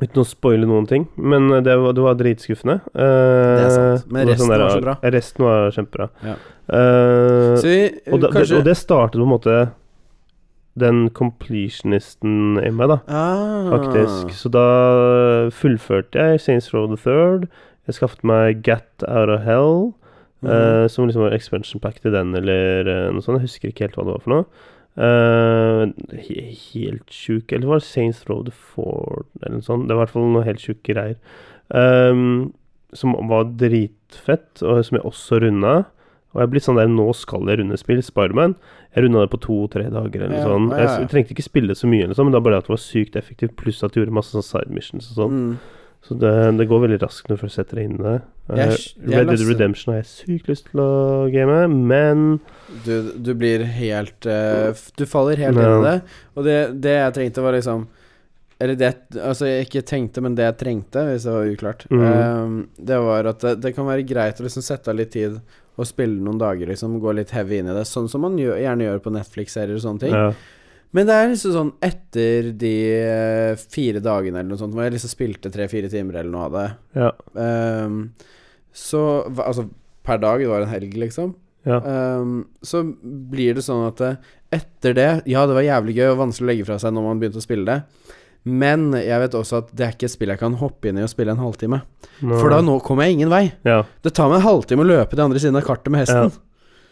uten å spoile noen ting, men det var, det var dritskuffende. Ehm, Det er sant, men det resten var så bra. ja, Resten var kjempebra. Ja. Ehm, Så vi, og, da, det, kanskje og det startet på en måte den completionisten i meg, da, Ah. faktisk. Så da fullførte jeg Saints Row the Third. Jeg skaffet meg Gat Out of Hell, Mhm. eh, som liksom var expansion pack til den, eller eh, noe sånt. Jeg husker ikke helt hva det var for noe. Eh, he- helt sjuk Eller var det Saints Row the Fourth, eller noe sånt? Det var i hvert fall noe helt sjuke greier. Ehm, som var dritfett, og som jeg også runda. Og jeg er blitt sånn der Nå skal jeg runde spill. Spiderman. Jeg runda det på to-tre dager eller Ja, sånn. ja, Jeg ja. s- trengte ikke spille så mye, eller sånn, men det var bare at det var sykt effektivt, pluss at du gjorde masse sånn side missions og sånn. Mm. Så det, det går veldig raskt når du først setter deg inn i det. Eh, Jeg s- jeg Red Dead leste- Redemption har jeg sykt lyst til å game, men Du, du blir helt eh, f- Du faller helt Ja. inn i det. Og det, det jeg trengte, var liksom Eller det Altså, jeg ikke tenkte, men det jeg trengte, hvis det var uklart, Mhm. eh, det var at det, det kan være greit å liksom sette av litt tid og spille noen dager, liksom. Gå litt heavy inn i det. Sånn som man gjør, gjerne gjør på Netflix-serier og sånne ting. ja. Men det er liksom sånn etter de eh, fire dagene eller noe sånt, hvor jeg liksom spilte tre-fire timer eller noe av det Ja. Ehm, Så hva- Altså, per dag, det var en helg, liksom. Ja. Ehm, så blir det sånn at det- etter det Ja, det var jævlig gøy og vanskelig å legge fra seg når man begynte å spille det. Men jeg vet også at det er ikke et spill jeg kan hoppe inn i og spille en halvtime. Nå- For da Mm. nå kommer jeg ingen vei. ja. Det tar meg en halvtime å løpe til andre siden av kartet med hesten.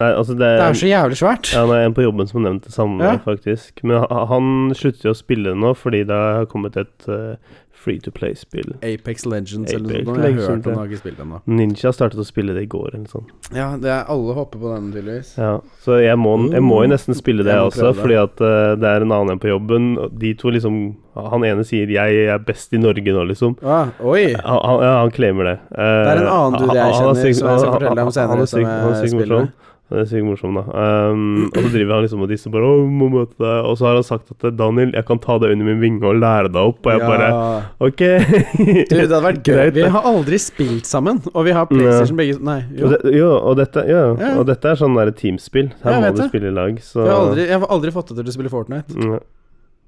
Nei, altså det, Det er så jævlig svært. Ja, det er en på jobben som nevnte det samme, Ja. faktisk. Men ha- han slutter jo å spille nå fordi det har kommet et eh, free to play-spill. Apex Legends eller Apex noe sånt. Jeg har Legends, hørt om det, ja. har ikke spilt ennå. Ninja startet å spille det i går, eller sånn. noe sånt. Ja, det er alle hopper på den, tydeligvis. Ja, så jeg må, jeg må jo nesten spille det Mm. Jeg må også, prøve det. fordi at eh, det er en annen en på jobben. og De to liksom Han ene sier 'jeg er best i Norge nå', liksom. Ah, oi! Han, han, ja, han claimer det. Eh, Det er en annen dude jeg han- han er kjenner sykt- som jeg skal han- fortelle deg om senere, Han er som sykt- han er jeg sykt spiller morsom. Han er sykt morsom, da. Ehm, og så driver han liksom og disser bare 'Å, må møte deg', og så har han sagt at 'Daniel, jeg kan ta deg under min vinge og lære deg opp', og jeg bare Ja. Ok. Du, det hadde vært gøy. Greit, Vi det. har aldri spilt sammen, og vi har PlayStation begge Nei, Og jo. det, jo, og dette, ja, Ja. og dette er sånn der teamspill. Ja, jeg Her må vet du det. spille i lag, så Vi har aldri, jeg har aldri fått det til å spille Fortnite. Ja.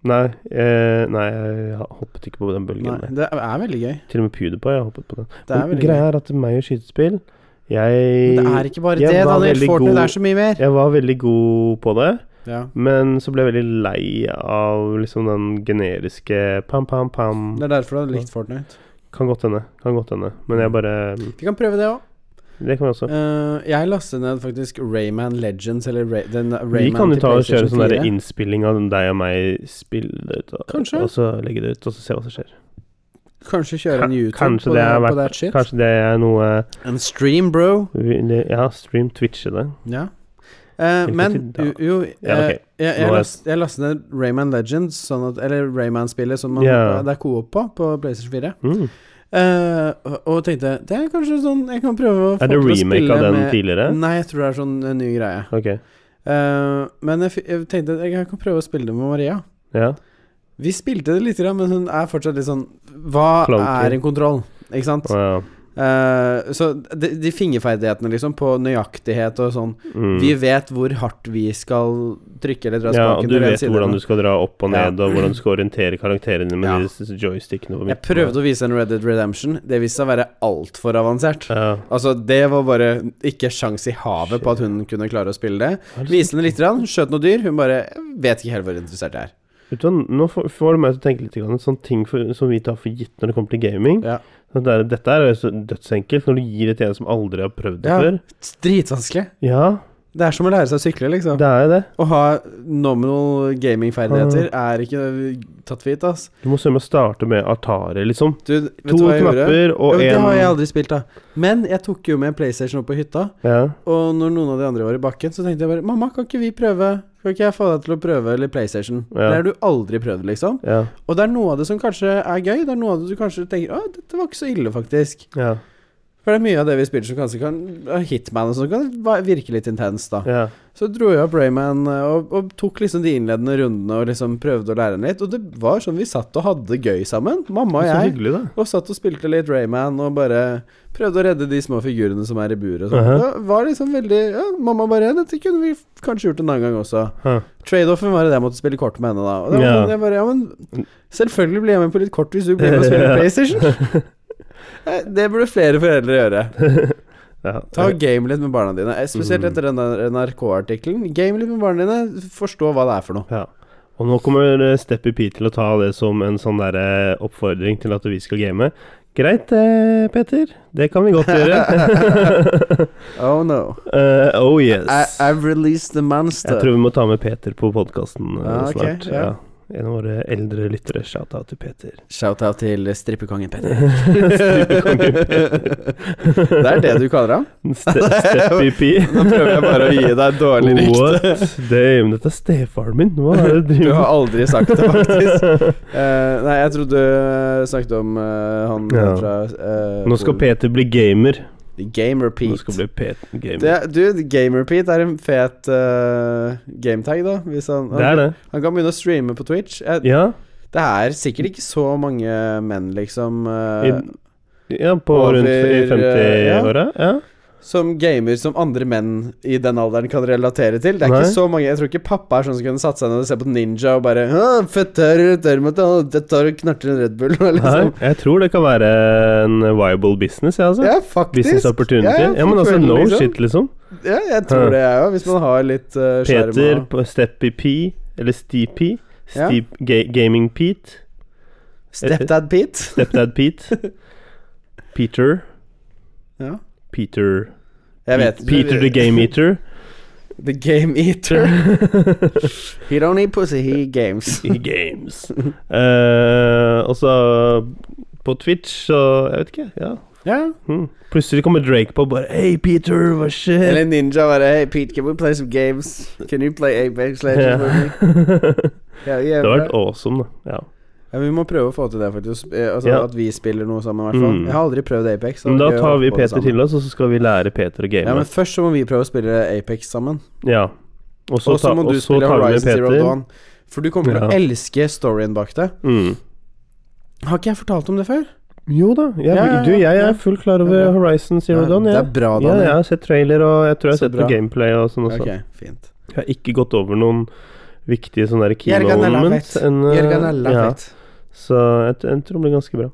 Nei, eh, nei, jeg hoppet ikke på den bølgen. Nei, der. det er veldig gøy. Til og med PewDiePie har hoppet på den. Det er Men veldig gøy. greia er at meg og skytespill Jeg Men det er ikke bare jeg det, var Daniel. veldig Fortnite god- er så mye mer. Jeg var veldig god på det, Ja. men så ble jeg veldig lei av liksom den generiske pam, pam, pam. Det er derfor du har likt Fortnite. Kan godt hende. Kan godt hende. Men jeg bare mm, Vi kan prøve det òg. Det kan vi også. jeg lastet ned faktisk Rayman Legends, eller Ray, den Rayman Vi kan jo til ta og kjøre PlayStation sånn der 4. innspilling av den deg og meg spille det ut, og, Kanskje. og så legge det ut, og så se hva som skjer. Kanskje kjøre en Ka- YouTube kanskje på, det det, er på verdt- that shit. Kanskje det er noe En stream, bro. vi- det- Ja, stream, twitche det. Ja. Eh, Hvilke men tider? jo, jo Ja, eh, ok. jeg, jeg, Nå er- last, jeg lastet ned Rayman Legends, sånn at, eller Rayman-spillet som man, Ja. det er co-op på, på PlayStation 4. Mm. Eh, og, og tenkte det er kanskje sånn jeg kan prøve å få Er det til å remake spille av den med- tidligere? Nei, jeg tror det er sånn en ny greie. Ok. Eh, men jeg, fi- jeg tenkte jeg kan prøve å spille det med Maria. Ja. Vi spilte det lite grann, men hun er fortsatt litt sånn Hva Clunky. er en kontroll? Ikke sant? Å, ja. Eh, så de, de fingerferdighetene, liksom, på nøyaktighet og sånn Mm. Vi vet hvor hardt vi skal trykke eller dra ja, og spaken. du vet hvordan du skal dra opp og Ja. ned, og hvordan du skal orientere karakterene med Ja. de s- joystickene på midten. Jeg prøvde å vise en Red Dead Redemption. Det viste seg å være altfor avansert. ja. Altså, det var bare ikke sjans i havet på at hun kunne klare å spille det. Viste henne litt, grann, skjøt noe dyr. Hun bare jeg Vet ikke helt hvor interessert jeg er. Vet du hva, Nå får får du meg til å tenke litt grann, sånn ting for, som vi tar for gitt når det kommer til gaming. Ja. Sånn der, dette er jo så dødsenkelt når du gir det til en som aldri har prøvd det Ja. før. Dritvanskelig. Ja, Det er som å lære seg å sykle, liksom. det er jo det. Å ha nominal Mm. gamingferdigheter er ikke tatt for gitt, ass. Du må sømme starte med Atari, liksom. Du, vet To du hva jeg gjorde? knapper Jo, og det én har jeg aldri spilt, da. Men jeg tok jo med PlayStation opp på hytta. ja. Og når noen av de andre var i bakken, så tenkte jeg bare Mamma, kan ikke vi prøve? Kan ikke jeg få deg til å prøve eller PlayStation? Ja. Det har du aldri prøvd, liksom. Ja. Og det er noe av det som kanskje er gøy. Det er noe av det du kanskje tenker Å, dette var ikke så ille, faktisk. Ja. For det er mye av det vi spiller som kanskje kan av Hitman og sånn kan va- virke litt intenst, da. ja. Så dro jeg opp Rayman eh, og, og tok liksom de innledende rundene og liksom prøvde å lære henne litt. Og det var sånn vi satt og hadde det gøy sammen, mamma og Så jeg. hyggelig, da. Og satt og spilte litt Rayman og bare prøvde å redde de små figurene som er i buret og sånn. Mhm. Det var liksom veldig Ja, mamma bare Dette kunne vi f- kanskje gjort en annen gang også. Huh. Trade-offen var det jeg måtte spille kort med henne, da. Og det var Ja. sånn, jeg bare Ja, men selvfølgelig blir jeg med på litt kort hvis du blir med og spiller Ja. PlayStation. Eh, Det burde flere foreldre gjøre. Ja. Ta og game litt med barna dine. eh, Spesielt Mhm. etter den der NRK-artikkelen. Game litt med barna dine, forstå hva det er for noe. Ja. Og nå kommer eh, Steppy P til å ta det som en sånn der eh, oppfordring til at vi skal game. Greit, eh, Peter. Det kan vi godt gjøre. Oh no. Eh, oh yes. I, I've released the monster. Jeg tror vi må ta med Peter på podkasten Ah, ok, snart. ja. ja. En av våre eldre lyttere. Shout-out til Peter. Shout-out til strippekongen Petter. Strippekongen det er det du kaller ham? Ste Steppy P. Nå prøver jeg bare å gi deg dårlig What? rykte. Damn, dette er stefaren min. Hva er det du Du har driver med? aldri sagt det, faktisk. Eh, nei, jeg trodde du snakket om eh, han Ja. fra eh, Nå skal Polen. Peter bli gamer. Game Repeat. Nå skal bli Peter gamer. Det, er- du, Game Repeat er en fet eh, gametag, da. Hvis han, Det er det. han kan begynne å streame på Twitch. Jeg, Ja, Det er sikkert ikke så mange menn, liksom, eh, I- ja på Over, rundt i eh, 50-åra. Ja. som gamer som andre menn i den alderen kan relatere til. Det er Nei. ikke så mange Jeg tror ikke pappa er sånn som kunne satt seg ned og se på Ninja og bare «Å, Føtter, tørrmøte, dette har du knarter en Red Bull, og Nei, liksom. jeg tror det kan være en viable business, jeg, altså. Ja, faktisk. Business opportunity. Ja, men altså, forfølgelig, no liksom. shit, liksom. Ja, jeg tror det, jeg òg, hvis man har litt eh, skjerm Peter og på Steppy P, eller Steepy. Ja. Steep, ga Gaming Pete. Stepdad Pete. Stepdad Pete. Peter. Ja. Peter Jeg vet Peter the Game Eater. The Game Eater. he don't eat pussy, he games. i games. Eh, og så på Twitch så Jeg vet ikke. ja Ja. hmm. Plutselig kommer Drake på og bare Hei, Peter, hva skjer? Eller Ninja bare Hey Pete, can we play some games? Can you play Apex Ja. Legends with me? Ja, det yeah, hadde vært bra. awesome, da. Ja. ja, vi må prøve å få til det, faktisk. Eh, Altså Ja. At vi spiller noe sammen, i hvert fall. Mm. Jeg har aldri prøvd Apex. så Men det da er gøy å tar vi få det Peter sammen. til oss, og så skal vi lære Peter å Ja, game. men først så må vi prøve å spille Apex sammen. Ja. Og så Og så ta- må og du så spille tar vi med Horizon Zero Peter. Dawn. For du kommer til å Ja. elske storyen bak det. Mm. Har ikke jeg fortalt om det før? Jo da. Jeg, Ja, ja, du, jeg ja. er fullt klar over Ja, bra. Horizon Zero Ja, Dawn. Det Ja. er Ja, bra, Daniel. jeg har sett trailer, og jeg tror jeg har Så sett bra. noe gameplay og sånn også. Ok, fint. Jeg har ikke gått over noen viktige sånne der key Jørgen er moments. lavet. enn, eh, Jørgen ja. er lavet. Så jeg, t- jeg tror det blir ganske bra.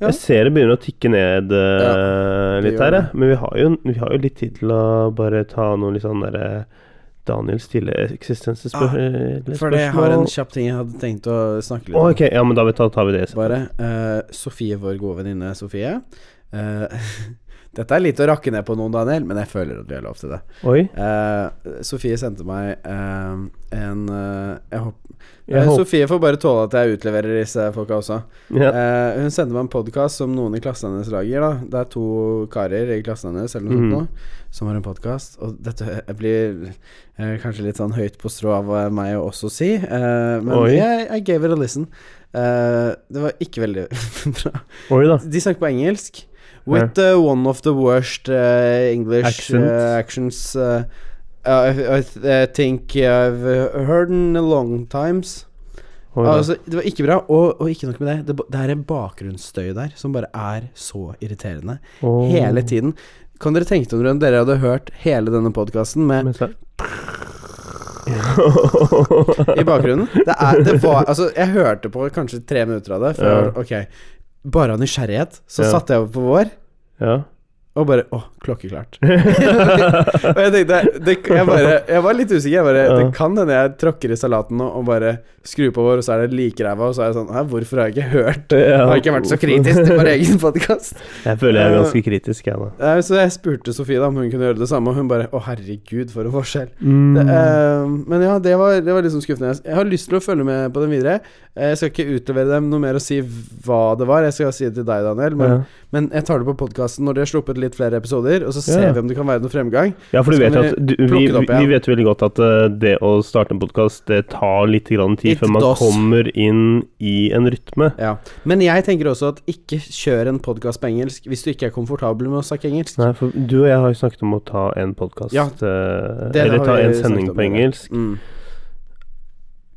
Ja. Jeg ser det begynner å tikke ned eh, det litt gjør her, det. jeg. men vi har, jo, vi har jo litt tid til å bare ta noen litt sånn derre Daniel stille eh, Ah, eksistensspørsmål Fordi jeg har en kjapp ting jeg hadde tenkt å snakke litt om. Ok, ja, men da vi tar, tar vi det. etterpå. Bare eh, Sofie, vår gode venninne Sofie. eh, dette er litt å rakke ned på noen, Daniel, men jeg føler at vi har lov til det. Oi. Eh, Sofie sendte meg eh, en eh, jeg håp, Jeg Eh, håper Sofie får bare tåle at jeg utleverer disse folka også. ja. Eh, hun sendte meg en podkast som noen i klassen hennes lager. da Det er to karer i klassen hennes eller noe Mhm. sånt nå, som har en podkast. Og dette jeg blir eh, kanskje litt sånn høyt på strå av eh, meg å også si, eh, men Oi. jeg, I gave it a listen. Eh, det var ikke veldig bra. Oi da. De snakker på engelsk. With the one of the worst eh, English Accent. eh, actions eh, I, I think I've heard in a long times. Oi, da. Altså, det var ikke bra, og, og ikke nok med det. det. ba- Det er en bakgrunnsstøy der som bare er så irriterende. Åh. Hele tiden. Kan dere tenke dere om dere hadde hørt hele denne podkasten med Men så- i bakgrunnen? Det, er, det var Altså, jeg hørte på kanskje tre minutter av det. For jeg var, ok, bare av nysgjerrighet så Ja. satte jeg over på vår, Ja. og bare Å, klokkeklart. og jeg tenkte det, jeg, bare, jeg var litt usikker. Jeg bare, Ja. Det kan hende jeg tråkker i salaten nå og bare skrur på vår, og så er det likeræva, og så er jeg sånn Hæ, hvorfor har jeg ikke hørt Ja. Jeg har ikke vært så kritisk til vår egen podkast. Jeg føler jeg er Eh, ganske kritisk, jeg, da. Så jeg spurte Sofie da om hun kunne gjøre det samme, og hun bare Å, herregud, for en forskjell. Det, Mm. eh, men ja, det var, det var liksom skuffende. Jeg har lyst til å følge med på den videre. Eh, Jeg skal ikke utlevere dem noe mer og si hva det var. Jeg skal si det til deg, Daniel. Men, Ja. men jeg tar det på podkasten når de har sluppet litt flere episoder, og så ser Ja. vi om det kan være noe fremgang. Ja, for du Så vet kan at du, vi, plukke det opp vi igjen. vi vet jo veldig godt at eh, det å starte en podkast, det tar litt grann tid It før man does. kommer inn i en rytme. Ja. Men jeg tenker også at ikke kjør en podkast på engelsk hvis du ikke er komfortabel med å snakke engelsk. Nei, for du og jeg har jo snakket om å ta en podkast Ja, det Eller har ta vi en snakket sending om, på ja. engelsk. Mm.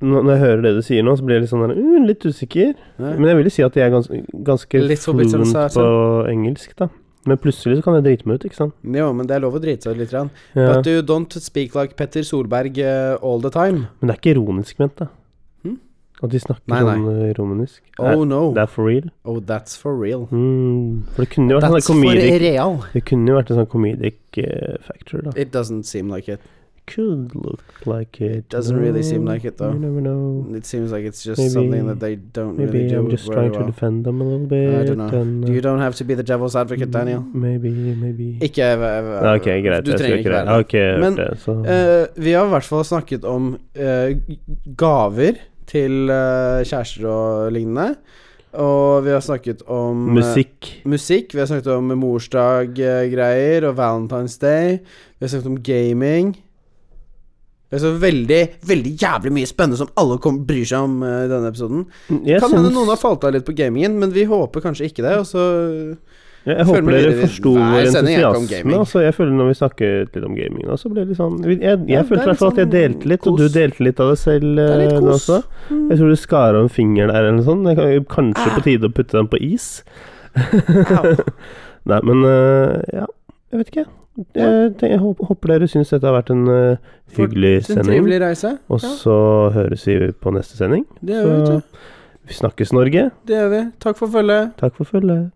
Nå- Når jeg hører det du sier nå, så blir jeg litt sånn der, uh, litt usikker. Ja. Men jeg vil jo si at jeg er gans ganske Litt så bitte fluent sånn, på engelsk, da. Men plutselig så kan jeg drite meg ut, ikke sant. Jo, men det er lov å drite seg ut litt. Rann. Ja. But you don't speak like Petter Solberg eh, all the time. Men det er ikke ironisk ment, da. Hm? At de snakker Nei, nei. sånn eh, ironisk. Oh Er- no. Det er for real. Oh, that's for real. Mm. For det kunne jo vært sånn der That's for comedic real. Det kunne jo vært en sånn comedic eh, factor, da. It doesn't seem like it. Could look like it. It doesn't really seem like it, though. You never know. It seems like it's just Maybe- something that they don't Maybe really do I'm just very trying to well. defend them a little bit. dunno. and, uh, You don't have to be the devil's advocate, Daniel. Maybe, maybe Ikke eh, Ah, Ok, greit. Du jeg skal trenger ikke ikke det. være det. Ok, jeg Men, hørte det, så Eh, vi har i hvert fall snakket om eh, gaver til eh, kjærester og lignende. Og vi har snakket om eh, Musikk. musikk. Vi har snakket om morsdag-greier og Valentine's Day. Vi har snakket om gaming. Det er så veldig, veldig jævlig mye spennende som alle kom, bryr seg om eh, i denne episoden. Jeg kan hende syns- noen har falt av litt på gamingen, men vi håper kanskje ikke det. Og så Jeg, jeg Føler håper meg dere litt- forsto Hver vår sending er ikke om entusiasme. gaming. Altså, jeg føler Når vi snakket litt om gaming, nå, så ble det litt sånn Jeg, jeg, Ja, det følte i er hvert fall at jeg litt sånn delte litt, og du kos. delte litt av det selv. det er litt eh, nå kos. også. Mm. Ah. Jeg tror du skar av en finger der eller noe sånt. Det kan- Kanskje på tide å putte den på is. Au. Nei, men eh, ja. Jeg vet ikke. Jeg, tenker, jeg håper, håper dere syns dette har vært en eh, For- hyggelig En sending. trivelig reise. Og Ja, så høres vi på neste sending. det gjør Så vi, vet du. vi snakkes, Norge. Det gjør vi. Takk for følget. Takk for følget.